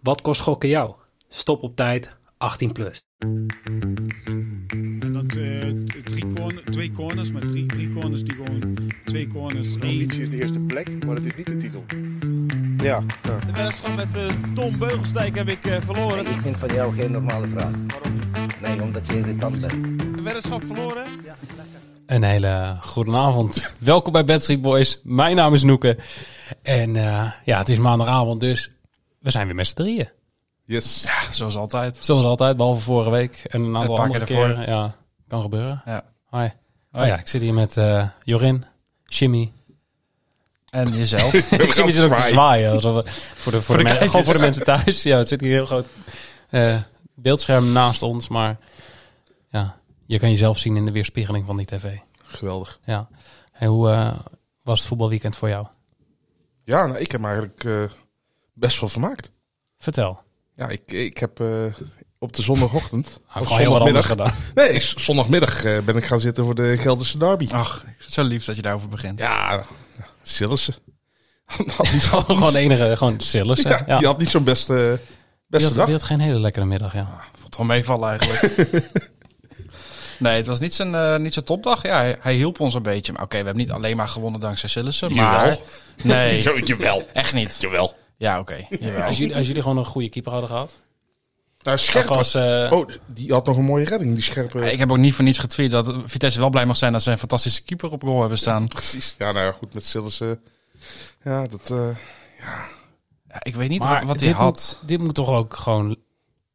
Wat kost gokken jou? Stop op tijd, 18 plus. En dan eh, t- drie corner, twee corners, maar drie, drie corners die gewoon twee corners. De één. ambitie is de eerste plek, maar het is niet de titel. Ja, ja. De wedstrijd met eh, Tom Beugelsdijk heb ik eh, verloren. Ik vind van jou geen normale vraag. Nee, omdat je irritant bent. De weddenschap verloren. Een hele goede avond. Welkom bij Bad Street Boys. Mijn naam is Noeke. En eh, ja, het is maandagavond, dus we zijn weer met z'n drieën. Yes. Ja, zoals altijd. Zoals altijd, behalve vorige week en een aantal paar andere keer ervoor. keren. Ja, kan gebeuren. Ja. Hoi. Oh ja, ik zit hier met eh, Jorin, Jimmy. En jezelf. ik zie me zit ook te zwaaien. alsof we- voor, de, voor, de, de men- kijkers. gewoon voor de mensen thuis. Ja, het zit hier een heel groot eh, beeldscherm naast ons. Maar ja, je kan jezelf zien in de weerspiegeling van die tv. Geweldig. Ja. Hey, hoe eh, was het voetbalweekend voor jou? Ja, nou, ik heb me eigenlijk eh, best wel vermaakt. Vertel. Ja, ik, ik heb eh, op de zondagochtend... of Ah, gewoon heel wat anders zondagmiddag... gedaan. Nee, ik- zondagmiddag eh, ben ik gaan zitten voor de Gelderse derby. Ah. Ach, zo lief dat je daarover begint. Ja, Sillissen. Had niet- gewoon de enige, gewoon Sillis. hè? ja, Ja. Die had niet zo'n beste, Die beste had, dag. die had geen hele lekkere middag, ja. Vond wel meevallen eigenlijk. nee, het was niet zijn, eh, niet zijn topdag. Ja, hij, hij hielp ons een beetje. Maar oké, we hebben niet alleen maar gewonnen dankzij Sillissen. Maar... Nee, jawel. echt niet. Jawel. Ja, oké. jawel. Als jullie, als jullie gewoon een goede keeper hadden gehad. Nou, Of scherp als, eh, Oh, die had nog een mooie redding, die scherpe... Ik heb ook niet voor niets getweet dat Vitesse wel blij mag zijn dat ze een fantastische keeper op goal hebben staan. Precies. Ja, nou ja, goed, met Sillissen. Ja, dat... eh, Ja, ik weet niet maar wat, wat hij dit had. Moet, dit moet toch ook gewoon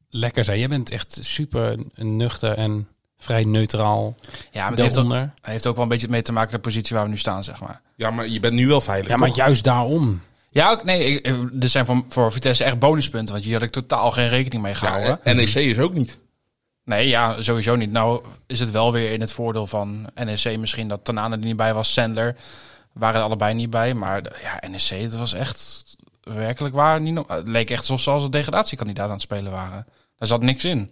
lekker zijn. Jij bent echt super nuchter en vrij neutraal Ja, maar het heeft, ook, daaronder. hij heeft ook wel een beetje mee te maken met de positie waar we nu staan, zeg maar. ja, maar je bent nu wel veilig, Ja, maar toch? juist daarom. Ja, ook, nee, ik- eh, er zijn voor, voor Vitesse echt bonuspunten, want hier had ik totaal geen rekening mee Ja, eh, gehouden. en NEC is ook niet. Nee, ja, sowieso niet. Nou is het wel weer in het voordeel van NEC misschien dat Tanane er niet bij was. Sandler waren er allebei niet bij. Maar de- ja, NEC, dat was echt werkelijk waar. Niet no- het leek echt alsof ze als een degradatiekandidaat aan het spelen waren. Daar zat niks in.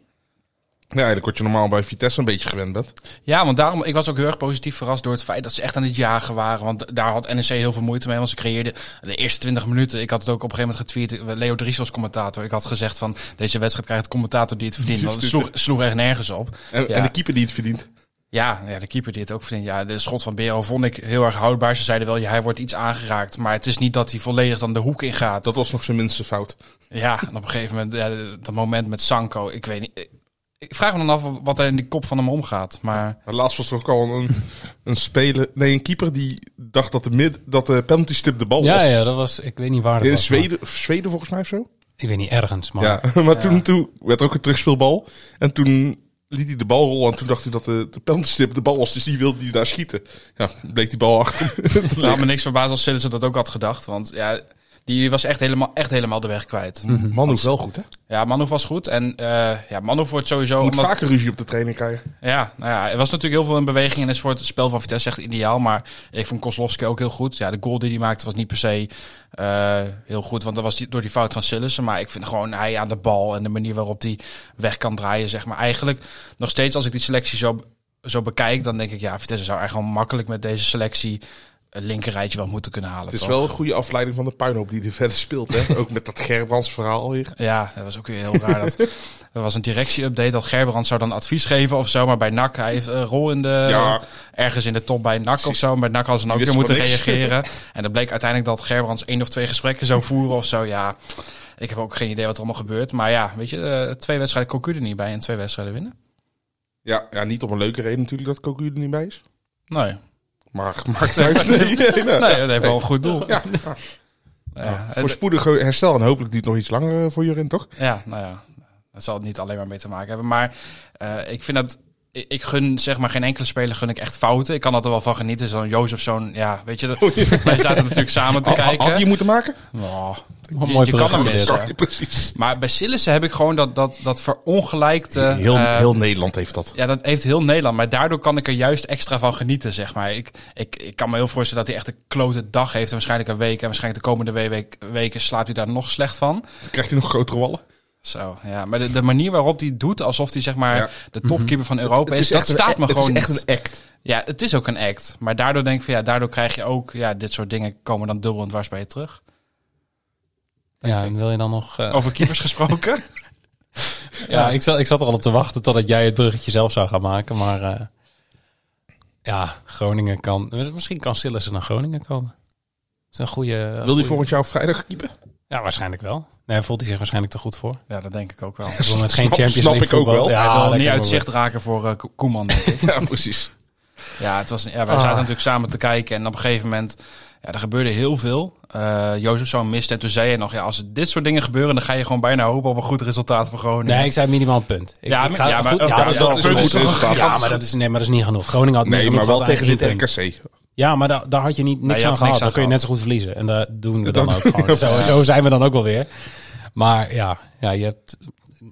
Ja, eigenlijk wat je normaal bij Vitesse een beetje gewend bent. Ja, want daarom, ik was ook heel erg positief verrast door het feit dat ze echt aan het jagen waren. Want daar had NEC heel veel moeite mee, want ze creëerden de eerste 20 minuten. Ik had het ook op een gegeven moment getweet, Leo Dries was commentator. Ik had gezegd van, deze wedstrijd krijgt de commentator die het verdient. Want het sloeg, sloeg echt nergens op. En, Ja. en de keeper die het verdient. Ja, ja, de keeper die het ook verdient. Ja, de schot van Bero vond ik heel erg houdbaar. Ze zeiden wel, ja, hij wordt iets aangeraakt. Maar het is niet dat hij volledig dan de hoek ingaat. Dat was nog zijn minste fout. Ja, en op een gegeven moment, ja, dat moment met Sanko. Ik weet niet. Ik vraag me dan af wat er in die kop van hem omgaat. Maar Maar laatst was er ook al een, een speler... Nee, een keeper die dacht dat de, mid, dat de penalty stip de bal Ja, was. ja, dat was... Ik weet niet waar dat In was, Zweden, of Zweden volgens mij of zo. maar- ik weet niet, ergens. Maar Ja, maar Toen, toen werd er ook een terugspeelbal. En toen liet hij de bal rollen. En toen dacht hij dat de, de penalty stip de bal was. Dus die wilde hij daar schieten. Ja, bleek die bal achter hem te liggen. laat me niks verbazen als Sillissen dat ook had gedacht. Want ja, die was echt helemaal, echt helemaal de weg kwijt. Man is wel goed, hè? Ja, Manhoef was goed. En eh ja, Manhoef wordt sowieso... Moet omdat- vaker ruzie op de training krijgen. Ja, nou ja, er was natuurlijk heel veel in beweging en is voor het spel van Vitesse echt ideaal. Maar ik vond Koslowski ook heel goed. Ja, de goal die hij maakte was niet per se eh, heel goed, want dat was die- door die fout van Sillissen. Maar ik vind gewoon hij aan de bal en de manier waarop hij weg kan draaien, zeg maar. Eigenlijk nog steeds als ik die selectie zo, zo bekijk, dan denk ik ja, Vitesse zou eigenlijk gewoon makkelijk met deze selectie een linkerrijtje wel moeten kunnen halen. Het is toch? wel een goede afleiding van de puinhoop die er verder speelt, hè? ook met dat Gerbrands verhaal weer. Ja, dat was ook weer heel raar. Dat, er was een directie-update dat Gerbrand zou dan advies geven of zo. Maar bij NAC, hij heeft een rol in de, Ja. ergens in de top bij NAC of zo. En bij NAC hadden ze dan ook Die weer wist moeten van niks. reageren. En dan bleek uiteindelijk dat Gerbrands één of twee gesprekken zou voeren of zo. Ja, ik heb ook geen idee wat er allemaal gebeurt. Maar ja, weet je, eh, twee wedstrijden Cocu er niet bij en twee wedstrijden winnen. Ja, ja, niet om een leuke reden natuurlijk dat Cocu er niet bij is. Nee, Maar maakt uit. Nee, nee, nee. nee dat heeft wel een goed doel. Ja, Ja, voor spoedig herstel en hopelijk duurt het nog iets langer eh, voor Jorin, toch? Ja, nou ja, dat zal het niet alleen maar mee te maken hebben. Maar eh, ik vind dat. ik- Ik gun zeg maar geen enkele speler gun ik echt fouten. Ik kan dat er wel van genieten. Zo'n Jozef, zo'n. Ja, weet je. Dat, wij zaten natuurlijk samen te Had- had- kijken. Had je moeten maken? Nou, Wat je- mooi je kan hem bruggetje dit. missen. precies. Maar bij Sillissen heb ik gewoon dat, dat, dat verongelijkte. Heel, eh, heel Nederland heeft dat. ja, dat heeft heel Nederland. Maar daardoor kan ik er juist extra van genieten, zeg maar. Ik, ik, ik kan me heel voorstellen dat hij echt een klote dag heeft. En waarschijnlijk een week. En waarschijnlijk de komende we- week, weken slaapt hij daar nog slecht van. Dan krijgt hij nog grotere wallen. Zo, ja. Maar de, de manier waarop hij doet, alsof hij zeg maar Ja. de topkeeper van Europa is, dat staat me gewoon Het is niet. echt een act. Ja, het is ook een act. Maar daardoor denk ik van ja, daardoor krijg je ook, ja, dit soort dingen komen dan dubbel en dwars bij je terug. Ja, en wil je dan nog... eh, Over keepers gesproken. ja, ik zat, ik zat er al op te wachten totdat jij het bruggetje zelf zou gaan maken. Maar eh, ja, Groningen kan... Misschien kan Sillissen naar Groningen komen. Dat is een goede... Wil goede- die volgend jaar op vrijdag keeper? Ja, waarschijnlijk wel. Nee, voelt hij zich waarschijnlijk te goed voor. Ja, dat denk ik ook wel. Ik bedoel, met geen Snap- Champions snap League ik ook voetbal. wel. Ja, Hij wil dat niet kan uit wel. zicht raken voor eh, Ko- Koeman. denk ik. Ja, precies. ja, het was, ja, wij zaten natuurlijk samen te kijken. En op een gegeven moment, ja, er gebeurde heel veel. Eh Jozef zo'n mist. En toen zei je nog, ja, als dit soort dingen gebeuren... dan ga je gewoon bijna hopen op een goed resultaat voor Groningen. Nee, ik zei minimaal een punt. Ik, Ja, ik ga- ja, maar- voet- ja, dat is ja, wel dat een is punt. een goed resultaat. Ja, maar dat is, nee, maar dat is niet genoeg. Groningen had Nee, negen maar wel punten, tegen dit één punt. RKC. Ja, maar daar, daar had je niet, niks je had aan niks gehad. aan dan kun je gehad. net zo goed verliezen. En dat doen we dan Dat- ook gewoon. Ja, zo, zo zijn we dan ook alweer. Maar ja, ja je hebt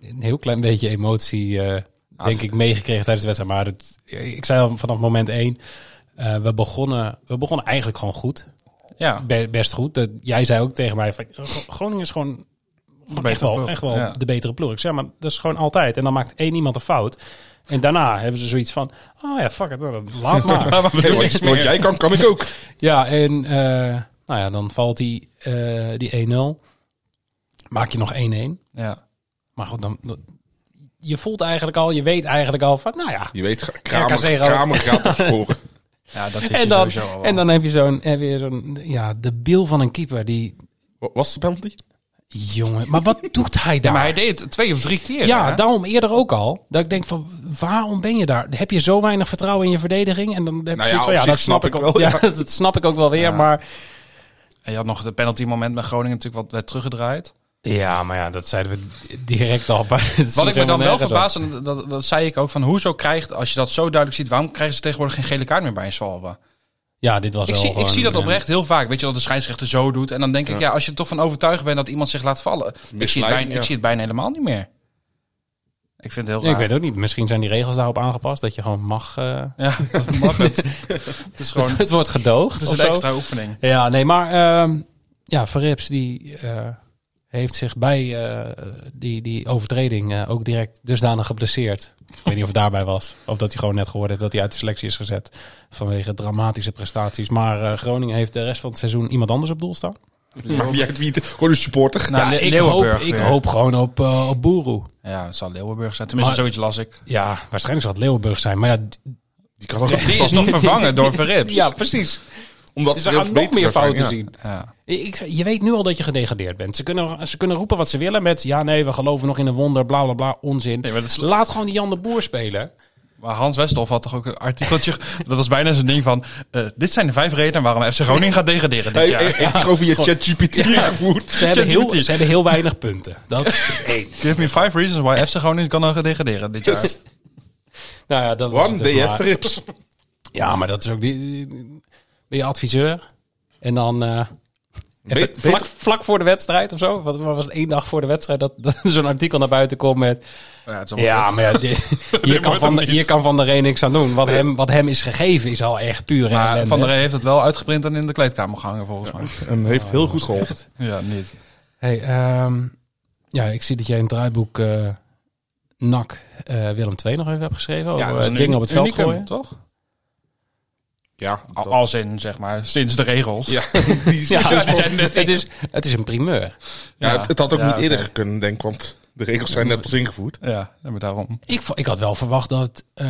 een heel klein beetje emotie, eh, denk ik, meegekregen tijdens de wedstrijd. Maar het, ik zei al vanaf moment één, eh, we, begonnen, we begonnen eigenlijk gewoon goed. Ja, Be- best goed. Dat, jij zei ook tegen mij, van, Groningen is gewoon, gewoon echt betere wel, ploeg. echt wel Ja. de betere ploeg. Ik zeg, maar dat is gewoon altijd. En dan maakt één iemand een fout. En daarna hebben ze zoiets van, oh ja, fuck it, nou, dan laat maar. Nee, wat, wat jij kan, kan ik ook. Ja, en eh, nou ja, dan valt die, eh, die 1-0. Maak je nog 1-1. ja. Maar goed, dan, dan- je voelt eigenlijk al, je weet eigenlijk al van, nou ja. Je weet, Kramer, RKC ook. Kramer gaat opsporen. ja, dat wist En je dan, sowieso al wel. en dan heb je zo'n, heb je zo'n, ja, de bil van een keeper. Die Wat Was de penalty? jongen, maar wat doet hij daar? Maar hij deed het twee of drie keer. ja, hè? daarom eerder ook al. Dat ik denk van, waarom ben je daar? Heb je zo weinig vertrouwen in je verdediging? En dan heb je Nou ja, zoiets van, op ja, zich dat snap, snap ik ik ook. wel, Ja, ja. dat snap ik ook wel weer. Ja. Maar En je had nog het penalty moment met Groningen natuurlijk wat werd teruggedraaid. ja, maar ja, dat zeiden we direct al. Wat ik me dan wel verbaas, en dat, dat, dat zei ik ook, van hoezo krijgt, als je dat zo duidelijk ziet, waarom krijgen ze tegenwoordig geen gele kaart meer bij een Zwalbe? Ja, dit was Ik wel zie, ik gewoon, zie dat eh, oprecht heel vaak, weet je, dat de scheidsrechter zo doet. En dan denk ik, ja, als je er toch van overtuigd bent dat iemand zich laat vallen. Ik zie, het Misleiding, bijna, ja. ik zie het bijna helemaal niet meer. Ik vind het heel Ja, ik raar. weet ook niet. Misschien zijn die regels daarop aangepast dat je gewoon mag. eh, Ja, dat mag het. Het is gewoon het wordt gedoogd. het is of een zo. extra oefening. Ja, nee, maar ehm, ja, Verrips die eh, heeft zich bij eh, die, die overtreding eh, ook direct dusdanig geblesseerd. Ik weet niet of het daarbij was. Of dat hij gewoon net gehoord heeft dat hij uit de selectie is gezet vanwege dramatische prestaties. Maar eh, Groningen heeft de rest van het seizoen iemand anders op doel staan. Maakt niet uit wie het- Gewoon een supporter. Nou, Le- ik, hoop, Leeuwenburg ik weer. hoop gewoon op, eh, op Boeroe. Ja, het zal Leeuwenburg zijn. Tenminste, Maar- zoiets las ik. Ja, waarschijnlijk zal het Leeuwenburg zijn. Maar ja, d- Die kan ook Die is nog vervangen door Verrips. ja precies. Omdat Dus ze er gaan nog meer fouten zien. ja. Ik, je weet nu al dat je gedegradeerd bent. Ze kunnen, ze kunnen roepen wat ze willen met... ja, nee, we geloven nog in een wonder, bla, bla, bla, onzin. Nee, maar dat is- Laat gewoon die Jan de Boer spelen. Maar Hans Westhoff had toch ook een artikeltje. dat was bijna zo'n ding van. eh, dit zijn de vijf redenen waarom FC Groningen gaat degraderen dit Hij jaar. heeft die gewoon via ChatGPT ingevoerd. Ze hebben, heel, ChatGPT. ze hebben heel weinig punten. Dat, Give me five reasons why FC Groningen kan degraderen dit jaar. nou ja, dat was One het dus DF maar. Rips. Ja, maar dat is ook... Die, die- die- ben je adviseur? En dan... eh, even beter- vlak, vlak voor de wedstrijd of zo? Wat, wat was het één dag voor de wedstrijd dat, dat zo'n artikel naar buiten komt met... Ja, het is allemaal Ja, goed. maar ja, dit- hier, kan van de, hier kan Van der Reen niks aan doen. Wat hem, wat hem is gegeven is al echt puur Maar ellende. Van der Rey heeft het wel uitgeprint en in de kleedkamer gehangen volgens mij. En heeft heel goed geholpen. Ja, niet. Hey, ehm, ja, ik zie dat jij een draaiboek eh NAC eh, Willem II nog even hebt geschreven. Ja, over dat is eh, een dingen op het veld unicum, gooien. toch? Ja, Al- Als in, zeg maar, sinds de regels. ja, die- Ja, Ja, het, die zijn net het is, het is een primeur. ja, het, het had ook Ja, niet oké. eerder kunnen, denk ik, want de regels zijn net pas ingevoerd. Ja, maar daarom. Ik, vo- ik had wel verwacht dat... eh,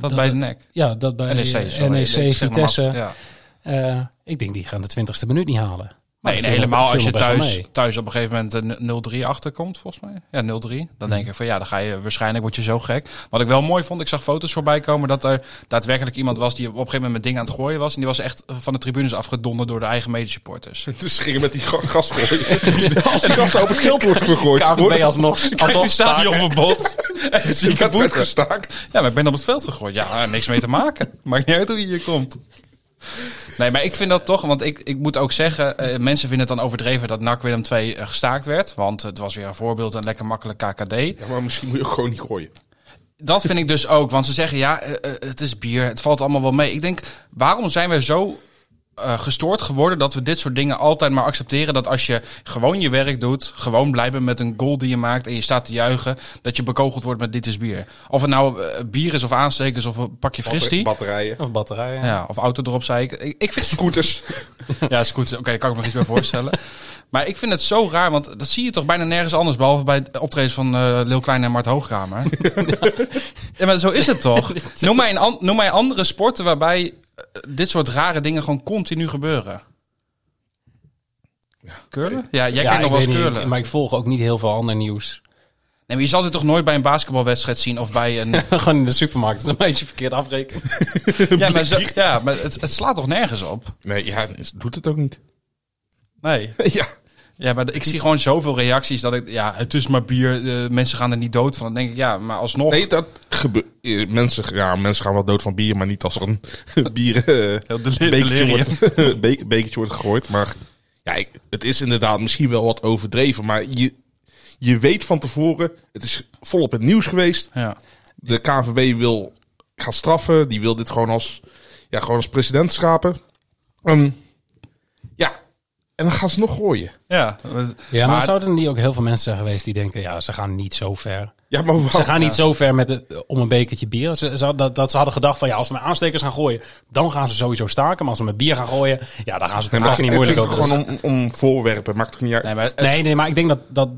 Dat, bij de het- nek. Ja, dat bij NEC, NEC, sorry. NEC Zeg maar Vitesse. af. Ja. eh, ik denk, die gaan de 20ste minuut niet halen. Maar Nee, dat nee, viel me- helemaal viel als me je best wel thuis, mee. thuis op een gegeven moment eh, een 0-3 achterkomt, volgens mij. Ja, 0-3. Dan Hmm. denk ik van ja, dan ga je waarschijnlijk word je zo gek. Wat ik wel mooi vond, ik zag foto's voorbij komen dat er daadwerkelijk iemand was die op een gegeven moment met dingen aan het gooien was. En die was echt eh, van de tribunes afgedonderd door de eigen medesupporters. Dus ze gingen met die ga- gas gooien. Als die gas nou op het geld wordt gegooid, KVB wordt alsnog, alsnog staken. verbod. die wedstrijd gestaakt. Ja, maar ik ben op het veld gegooid. Ja, niks mee te maken. Maakt niet uit hoe je hier komt. Nee, maar ik vind dat toch, want ik, ik moet ook zeggen, eh, mensen vinden het dan overdreven dat NAC Willem II eh, gestaakt werd. Want het was weer een voorbeeld en lekker makkelijk KKD. Ja, maar misschien moet je ook gewoon niet gooien. Dat vind ik dus ook. Want ze zeggen, ja, eh, eh, het is bier. Het valt allemaal wel mee. Ik denk, waarom zijn we zo eh, gestoord geworden dat we dit soort dingen altijd maar accepteren. Dat als je gewoon je werk doet, gewoon blijven met een goal die je maakt en je staat te juichen, dat je bekogeld wordt met dit is bier. Of het nou eh, bier is of aanstekers of een pakje fristie. Batterijen. Of batterijen. Ja, of autodrop, zei ik. Ik, ik vind Scooters. ja, scooters. Oké, daar kan ik me iets bij voorstellen. Maar ik vind het zo raar, want dat zie je toch bijna nergens anders... behalve bij het optreden van eh Lil Klein en Mart Hoogkamer. Ja. maar zo is het toch? Noem mij, een an- noem mij andere sporten waarbij eh, dit soort rare dingen gewoon continu gebeuren. Curlen? Ja, jij Ja, kent nog ik wel eens weet niet, curlen. Maar ik volg ook niet heel veel ander nieuws. Nee, maar je zal dit toch nooit bij een basketbalwedstrijd zien of bij een... Gewoon in de supermarkt. Een beetje verkeerd afrekenen. ja, maar, zo- ja, maar het, het slaat toch nergens op? Nee, ja, doet het ook niet. Nee. ja. Ja, maar ik zie gewoon zoveel reacties dat ik... Ja, het is maar bier, eh, mensen gaan er niet dood van. Dan denk ik, ja, maar alsnog... Nee, dat gebeurt. Mensen, ja, mensen gaan wel dood van bier, maar niet als er een bier eh, bekertje, wordt, be- bekertje wordt gegooid. Maar ja, ik- het is inderdaad misschien wel wat overdreven. Maar je, je weet van tevoren, het is volop het nieuws geweest. Ja. De KNVB wil gaan straffen. Die wil dit gewoon als, ja, gewoon als president schrapen. Ehm, ja, en dan gaan ze nog gooien. Ja, Ja, maar, Maar- zouden er niet ook heel veel mensen zijn geweest die denken... Ja, ze gaan niet zo ver. Oh, Ja, maar Ze waarom? gaan niet zo ver met de, om een bekertje bier. Ze, ze, had- dat, dat ze hadden gedacht van ja, als we met aanstekers gaan gooien, dan gaan ze sowieso staken. Maar als we met bier gaan gooien, ja, dan gaan ze Nee, het echt maar niet het moeilijk is over. toch gewoon om, om voorwerpen. Maakt toch niet uit. nee, maar het- nee, nee, maar ik denk dat, dat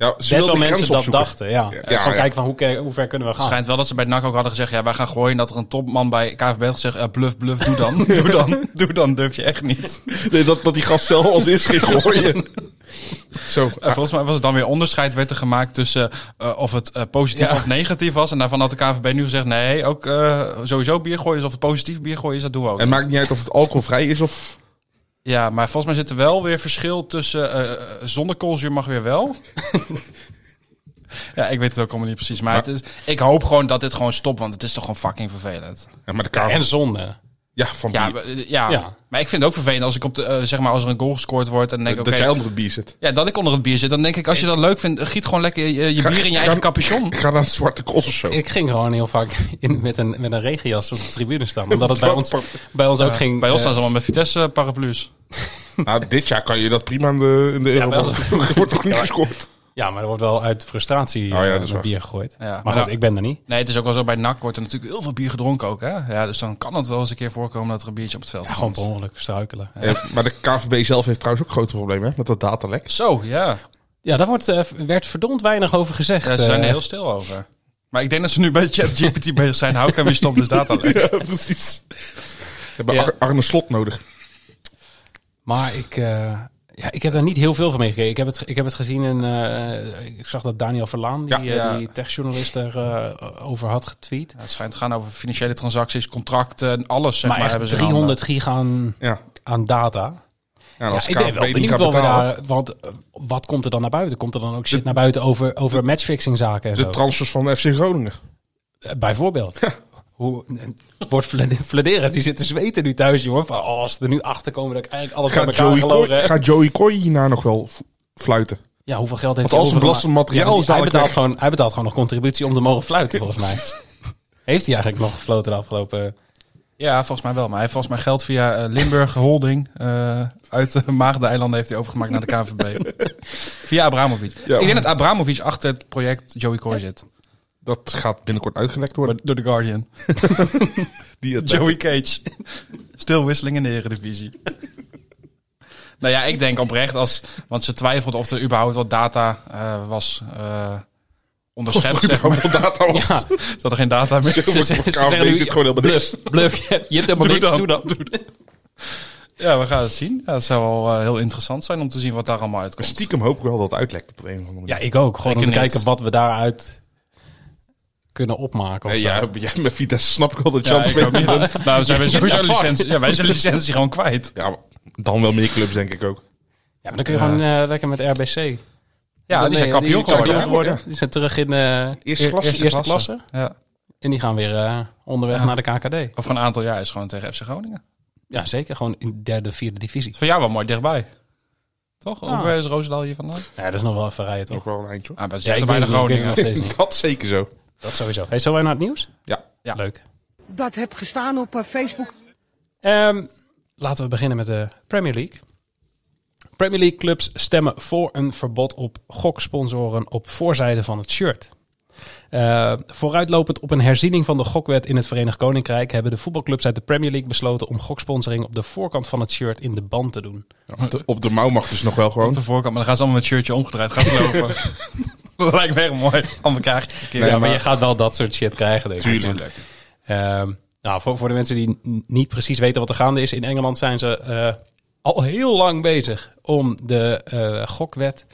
ja, ze best wilden wel de mensen grens dat opzoeken. dachten. Ja. Ja, Ja, ja. kijken van hoe, ke- hoe ver kunnen we het gaan. schijnt wel dat ze bij NAC ook hadden gezegd... Ja, wij gaan gooien. En dat er een topman bij KVB had gezegd... Ja, bluff, bluff, doe dan. doe dan. Doe dan, durf je echt niet. Nee, dat, dat die gast zelf als eerst ging gooien. Zo. En Eh, volgens mij was het dan weer onderscheid werd er gemaakt tussen... eh, of het eh, positief of negatief was. En daarvan had de KVB nu gezegd... Nee, ook eh, sowieso bier gooien. Dus of het positief bier gooien is, dat doen we ook. En niet. maakt niet uit of het alcoholvrij is of... Ja, maar volgens mij zit er wel weer verschil tussen... eh, zonder koolzuur mag weer wel. ja, ik weet het ook allemaal niet precies. Maar, Maar- het is, ik hoop gewoon dat dit gewoon stopt. Want het is toch gewoon fucking vervelend. Ja, maar de kamer... En zonde. ja, van Ja, bier. maar, eh, ja. Ja. maar ik vind het ook vervelend als ik op de, eh, zeg maar als er een goal gescoord wordt en denk dat oké, jij onder het bier zit. ja, dat ik onder het bier zit, dan denk ik als je dat leuk vindt, eh, giet gewoon lekker je, je bier in je eigen capuchon. Ik ga naar het Zwarte Cross of zo. Ik ging gewoon heel vaak in, met, een, met een regenjas op de tribune staan. Omdat het bij ons, bij ons ook ging. Bij ons eh, staan ze allemaal met Vitesse paraplu's. Nou, dit jaar kan je dat prima in de, in de Euro. wel. Er wordt toch niet gescoord? ja, maar er wordt wel uit frustratie Oh ja, eh, dat is met waar. bier gegooid. Ja, maar maar goed, ja. ik ben er niet. Nee, het is ook wel zo bij NAC wordt er natuurlijk heel veel bier gedronken ook, hè? Ja, dus dan kan het wel eens een keer voorkomen dat er een biertje op het veld. Ja, gewoon komt. per ongeluk struikelen. Eh, maar de KVB zelf heeft trouwens ook grote problemen hè, met dat datalek. Zo, ja. Ja, daar wordt, eh, werd verdomd weinig over gezegd. ja. Ze zijn er eh. heel stil over. Maar ik denk dat ze nu bij ChatGPT bezig zijn. Hou ik hem weer stop dus data lek. precies. Ze hebben Ja. Ar- Arne Slot nodig. Maar ik, eh, ja, ik heb daar niet heel veel van meegekregen. Ik heb het, ik heb het gezien en eh, ik zag dat Daniel Verlaan, die, Ja, eh, ja. die techjournalist, er eh, over had getweet. Ja, het schijnt te gaan over financiële transacties, contracten, alles zeg maar maar. echt hebben ze eh, in handen. 300 gig aan, Ja. aan data. ja, en Ja, als de ik ben KVB wel niet benieuwd gaat wat we betalen... daar... Want eh, wat komt er dan naar buiten? Komt er dan ook shit naar buiten over, over matchfixing zaken en De zo? transfers van FC Groningen. Eh, Bijvoorbeeld. Hoe eh, wordt Vlad- Vladeres, die zit te zweten nu thuis, jongen. Van, oh, als ze er nu achter komen, dat ik eigenlijk alles Gaat bij elkaar Joey, Kooi, gelogen. heb. gaat Joey Kooi hierna nog wel f- fluiten? Ja, hoeveel geld heeft Want als hij een overgemaakt? belastend materiaal Ja, hij is dadelijk betaalt, weg. gewoon, hij betaalt gewoon nog contributie om te mogen fluiten, volgens mij. Heeft hij eigenlijk nog gefloten de afgelopen... Ja, volgens mij wel. Maar hij heeft volgens mij geld via eh, Limburg Holding eh, uit de Maagdeneilanden heeft hij overgemaakt naar de KNVB. via Abramovic. Ik denk dat Abramovic achter het project Joey Coy zit. Dat gaat binnenkort uitgelekt worden. Door The Guardian. Die het- Joey Cage. Stilwisseling in de Eredivisie. nou ja, ik denk oprecht als... Want ze twijfelt of er überhaupt wat data eh, was eh onderschept. Zeg maar. data was. Ja, Ze hadden geen data meer. Ze zeggen nu- zit gewoon helemaal niks. bluff, bluff. Je, hebt helemaal Doe niks, dan. doe dan. Ja, we gaan het zien. Ja, het zou wel eh, heel interessant zijn om te zien wat daar allemaal Maar uitkomt. Stiekem hoop ik wel dat het uitlekt op de een of andere Ja, manier. ik ook. Gewoon om Ik te niet. kijken wat we daaruit kunnen opmaken. Of Nee, zo. ja, ja, met Vitesse snap ik wel dat Jan ik twee ook niet. punten- Nou, zijn wij sowieso Ja, fuck. licentie, ja, wij zijn licentie gewoon kwijt. Ja, maar dan wel meer clubs denk ik ook. Ja, maar dan kun je gewoon eh, lekker met RBC. Ja, die zijn kampioen kampioen geworden. geworden. Die zijn terug in eh Eerste klasse. eerste, eerste klasse. Ja. En die gaan weer eh, onderweg naar de KKD. Over een aantal jaar is gewoon tegen FC Groningen. Ja, zeker. Gewoon in derde, vierde divisie. Is voor jou wel mooi dichtbij. Toch? Ja. Hoe ver is Roosendaal hier vandaan? Ja, dat is nog wel even rijden, toch? Nog wel een eindje hoor. Ah, maar het is Ja, echt ik bij weet de het niet, ik weet het Groningen. nog steeds niet. Dat zeker zo. Dat sowieso. Hey, zullen wij naar het nieuws? Ja. Leuk. dat heb gestaan op eh, Facebook. Ehm, laten we beginnen met de Premier League. Premier League clubs stemmen voor een verbod op goksponsoren op voorzijde van het shirt. Eh, vooruitlopend op een herziening van de gokwet in het Verenigd Koninkrijk hebben de voetbalclubs uit de Premier League besloten om goksponsoring op de voorkant van het shirt in de band te doen. Op de, op de mouw mag dus nog wel Op gewoon. de voorkant, maar dan gaan ze allemaal met het shirtje omgedraaid. Gaan ze lopen. dat lijkt me echt mooi. Aan elkaar gekeerd. ja, maar, je gaat wel dat soort shit krijgen, denk ik. Tuurlijk. Ehm, nou, voor, voor de mensen die n- niet precies weten wat er gaande is, in Engeland zijn ze eh, al heel lang bezig om de eh, gokwet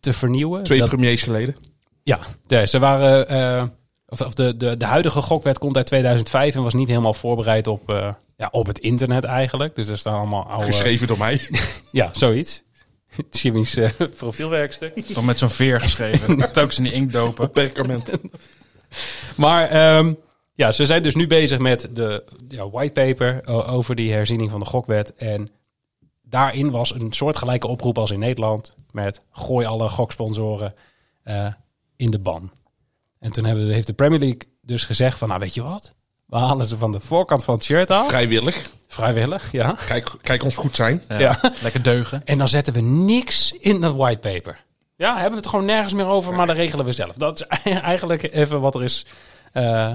te vernieuwen. Twee Dat- premiers geleden. ja, ja, ze waren. eh, of of de, de, de huidige gokwet komt uit 2005 en was niet helemaal voorbereid op, eh, ja, op het internet eigenlijk. Dus er staan allemaal oude. Geschreven door mij. Ja, zoiets. Jimmy's eh, profielwerkstuk. Toch met zo'n veer geschreven. Telkens in die inkt dopen. Perkament. Maar ehm, ja, ze zijn dus nu bezig met de ja, whitepaper o- over die herziening van de gokwet. En daarin was een soortgelijke oproep als in Nederland met gooi alle goksponsoren eh, in de ban. En toen hebben, heeft de Premier League dus gezegd van, nou weet je wat? We halen ze van de voorkant van het shirt af. Vrijwillig. Vrijwillig, ja. Kijk, kijk ons goed zijn. Ja. Ja. Lekker deugen. En dan zetten we niks in dat whitepaper. Ja, hebben we het gewoon nergens meer over, maar dan regelen we zelf. Dat is eigenlijk even wat er is eh,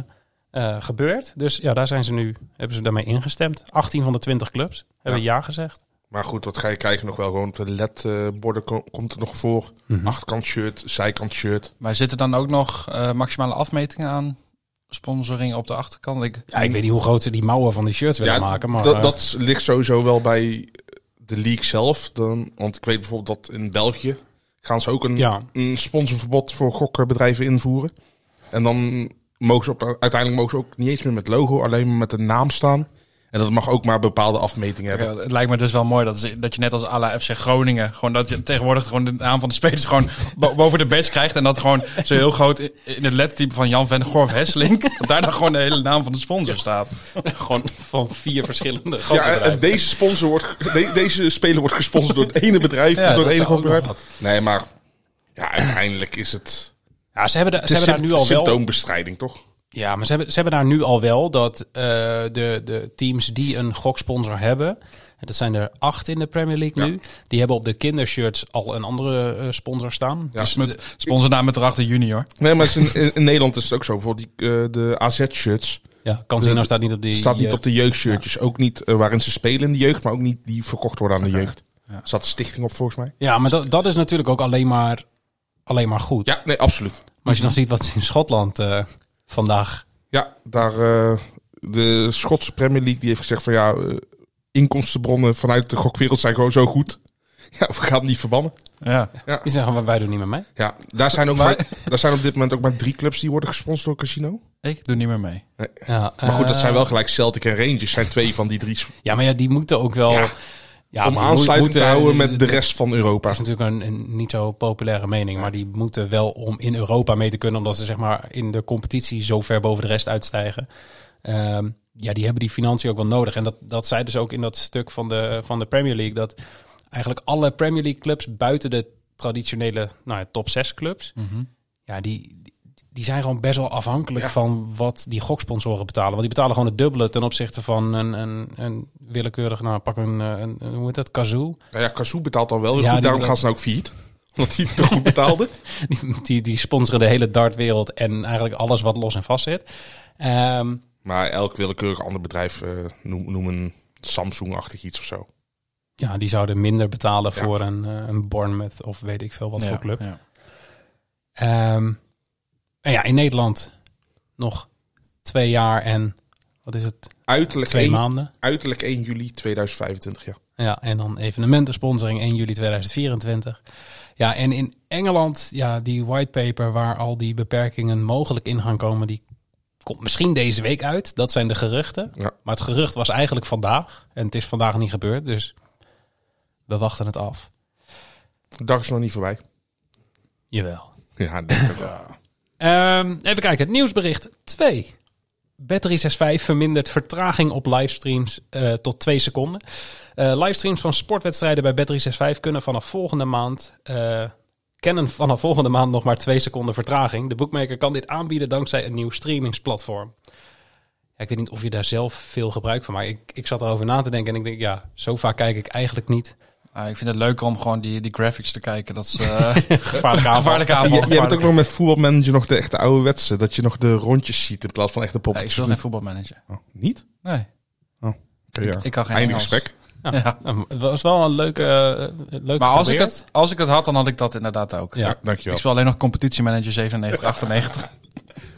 eh, gebeurd. Dus ja, daar zijn ze nu, hebben ze daarmee ingestemd. 18 van de 20 clubs hebben ja, gezegd. Maar goed, wat ga je krijgen nog wel? Gewoon op de LED-borden komt er nog voor. Mhm. Achterkant shirt, zijkant shirt. Maar zitten dan ook nog eh, maximale afmetingen aan? Sponsoring op de achterkant? Ik, Ja, ik weet niet hoe groot ze die mouwen van die shirts willen maken, maar dat, eh, dat ligt sowieso wel bij de league zelf. Dan, want ik weet bijvoorbeeld dat in België gaan ze ook een, Ja. een sponsorverbod voor gokbedrijven invoeren. En dan mogen ze op, uiteindelijk mogen ze ook niet eens meer met logo, alleen maar met de naam staan. En dat mag ook maar bepaalde afmetingen hebben. Ja, het lijkt me dus wel mooi dat, ze- dat je net als à la FC Groningen... gewoon dat je tegenwoordig gewoon de naam van de spelers gewoon bo- boven de badge krijgt... en dat gewoon zo heel groot in in het lettertype van Jan van Gorf Hesselink... dat daar dan gewoon de hele naam van de sponsor staat. gewoon van vier verschillende Ja, en- en deze, sponsor wordt, de- deze speler wordt gesponsord door het ene bedrijf, Ja, door dat het zou ene ook nog bedrijf. Nee, maar ja, uiteindelijk is het, Ja, ze hebben, daar- het ze is hebben daar nu al wel... symptoombestrijding, toch? Ja, maar ze hebben, ze hebben daar nu al wel dat eh, de, de teams die een goksponsor hebben, en dat zijn er acht in de Premier League nu, die hebben op de kindershirts al een andere eh, sponsor staan. Ja. Dus met sponsornaam met erachter junior. Nee, maar het is in, in- in Nederland is het ook zo. Bijvoorbeeld die, eh, de AZ-shirts Ja, Cancino staat niet op die... Dus staat niet eh, op de jeugdshirtjes. Ook niet eh, waarin ze spelen in de jeugd, maar ook niet die verkocht worden aan de jeugd. Er Zat een stichting op volgens mij? Ja, maar dat, dat is natuurlijk ook alleen maar, alleen maar goed. Ja, nee, absoluut. Maar als je dan ziet wat ze in Schotland eh, vandaag... Ja, daar eh, de Schotse Premier League die heeft gezegd van ja, eh, inkomstenbronnen vanuit de gokwereld zijn gewoon zo goed. Ja, we gaan hem niet verbannen. Ja. Die zeggen, "Maar wij doen niet meer mee. Ja, daar zijn, ook maar, daar zijn op dit moment ook maar drie clubs die worden gesponsord door Casino. Ik doe niet meer mee. Ja, Maar goed, dat eh, zijn wel gelijk Celtic en Rangers. zijn twee van die drie sp- Ja, maar ja, die moeten ook wel... Ja. Ja, om die aansluiting moeten- te houden met de rest van Europa. Dat is natuurlijk een, een niet zo populaire mening, maar die moeten wel om in Europa mee te kunnen, omdat ze zeg maar in de competitie zo ver boven de rest uitstijgen. Ehm, ja, die hebben die financiën ook wel nodig. En dat, dat zei dus ook in dat stuk van de, van de Premier League, dat eigenlijk alle Premier League clubs buiten de traditionele nou ja, top 6 clubs, ja, die, die zijn gewoon best wel afhankelijk van wat die goksponsoren betalen. Want die betalen gewoon het dubbele ten opzichte van een, een, een willekeurig, nou pak een, eh, een, hoe heet dat, kazoo. Nou ja, Kazoo betaalt dan wel heel Ja, goed. die Daarom betaalt- gaan ze nou ook failliet. Omdat hij te goed betaalde. Die, die, die sponsoren de hele dartwereld en eigenlijk alles wat los en vast zit. Ehm, maar elk willekeurig ander bedrijf, eh, noem, noem een Samsung-achtig iets of zo. ja, die zouden minder betalen Ja. voor een, eh, een Bournemouth of weet ik veel wat voor club. Ja. Ehm, en ja, in Nederland nog twee jaar en wat is het? Uiterlijk, Twee 1, maanden. uiterlijk 1 juli 2025, ja. Ja, en dan evenementensponsoring 1 juli 2024. Ja, en in Engeland, ja, die whitepaper waar al die beperkingen mogelijk in gaan komen, die komt misschien deze week uit. Dat zijn de geruchten. Ja. Maar het gerucht was eigenlijk vandaag. En het is vandaag niet gebeurd, dus we wachten het af. De dag is nog niet voorbij. Jawel. Ja, denk ik wel. Ehm, even kijken, nieuwsbericht 2. Bet365 vermindert vertraging op livestreams eh, tot 2 seconden. Eh, livestreams van sportwedstrijden bij Bet365 kunnen vanaf volgende maand... eh, kennen vanaf volgende maand nog maar 2 seconden vertraging. De boekmaker kan dit aanbieden dankzij een nieuw streamingsplatform. ja, ik weet niet of je daar zelf veel gebruik van maakt. Ik, ik zat erover na te denken en ik denk, ja, zo vaak kijk ik eigenlijk niet. Ah, ik vind het leuker om gewoon die, die graphics te kijken. Dat is eh Gevaarlijke aanval. gevaarlijke J- aanval. jij bent ook nog met voetbalmanager nog de echte ouderwetse. Dat je nog de rondjes ziet in plaats van echte Nee, ik poppetjes. speel geen voetbalmanager. Oh, niet? Nee. Oké, ja. Ik kan geen Einde Engels. gesprek. Ja. Nou, Het was wel een leuke, eh, leuk Maar als ik, geprobeerd. het, als ik het had, dan had ik dat inderdaad ook. Ja. Ja, dankjewel. Ik speel alleen nog competitiemanager 97, 98.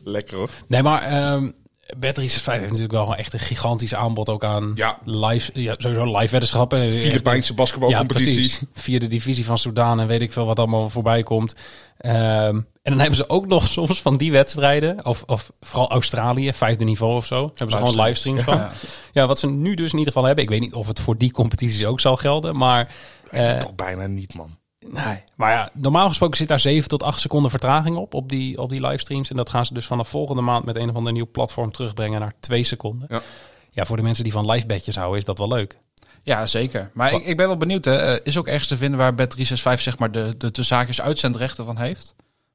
Lekker hoor. Nee, maar ehm Bet 365 heeft natuurlijk wel gewoon echt een gigantisch aanbod ook aan Ja. live, ja, sowieso live weddenschappen. Eh, Filipijnse ja, basketbalcompetitie. precies. Vierde divisie van Soudaan en weet ik veel wat allemaal voorbij komt. Ehm, en dan hebben ze ook nog soms van die wedstrijden, of, of vooral Australië, vijfde niveau of zo, hebben ze gewoon livestreams van. Ja. wat ze nu dus in ieder geval hebben. Ik weet niet of het voor die competities ook zal gelden, maar... eh, Toch bijna niet, man. Nee, maar ja, normaal gesproken zit daar 7 tot 8 seconden vertraging op, op die, op die livestreams. En dat gaan ze dus vanaf volgende maand met een of ander nieuw platform terugbrengen naar 2 seconden. Ja. Ja, voor de mensen die van live bedjes houden is dat wel leuk. Ja, zeker. Maar ik, ik ben wel benieuwd. Hè. Eh, Is ook ergens te vinden waar Bet365 zeg maar de, de tussenhaakjes uitzendrechten van heeft?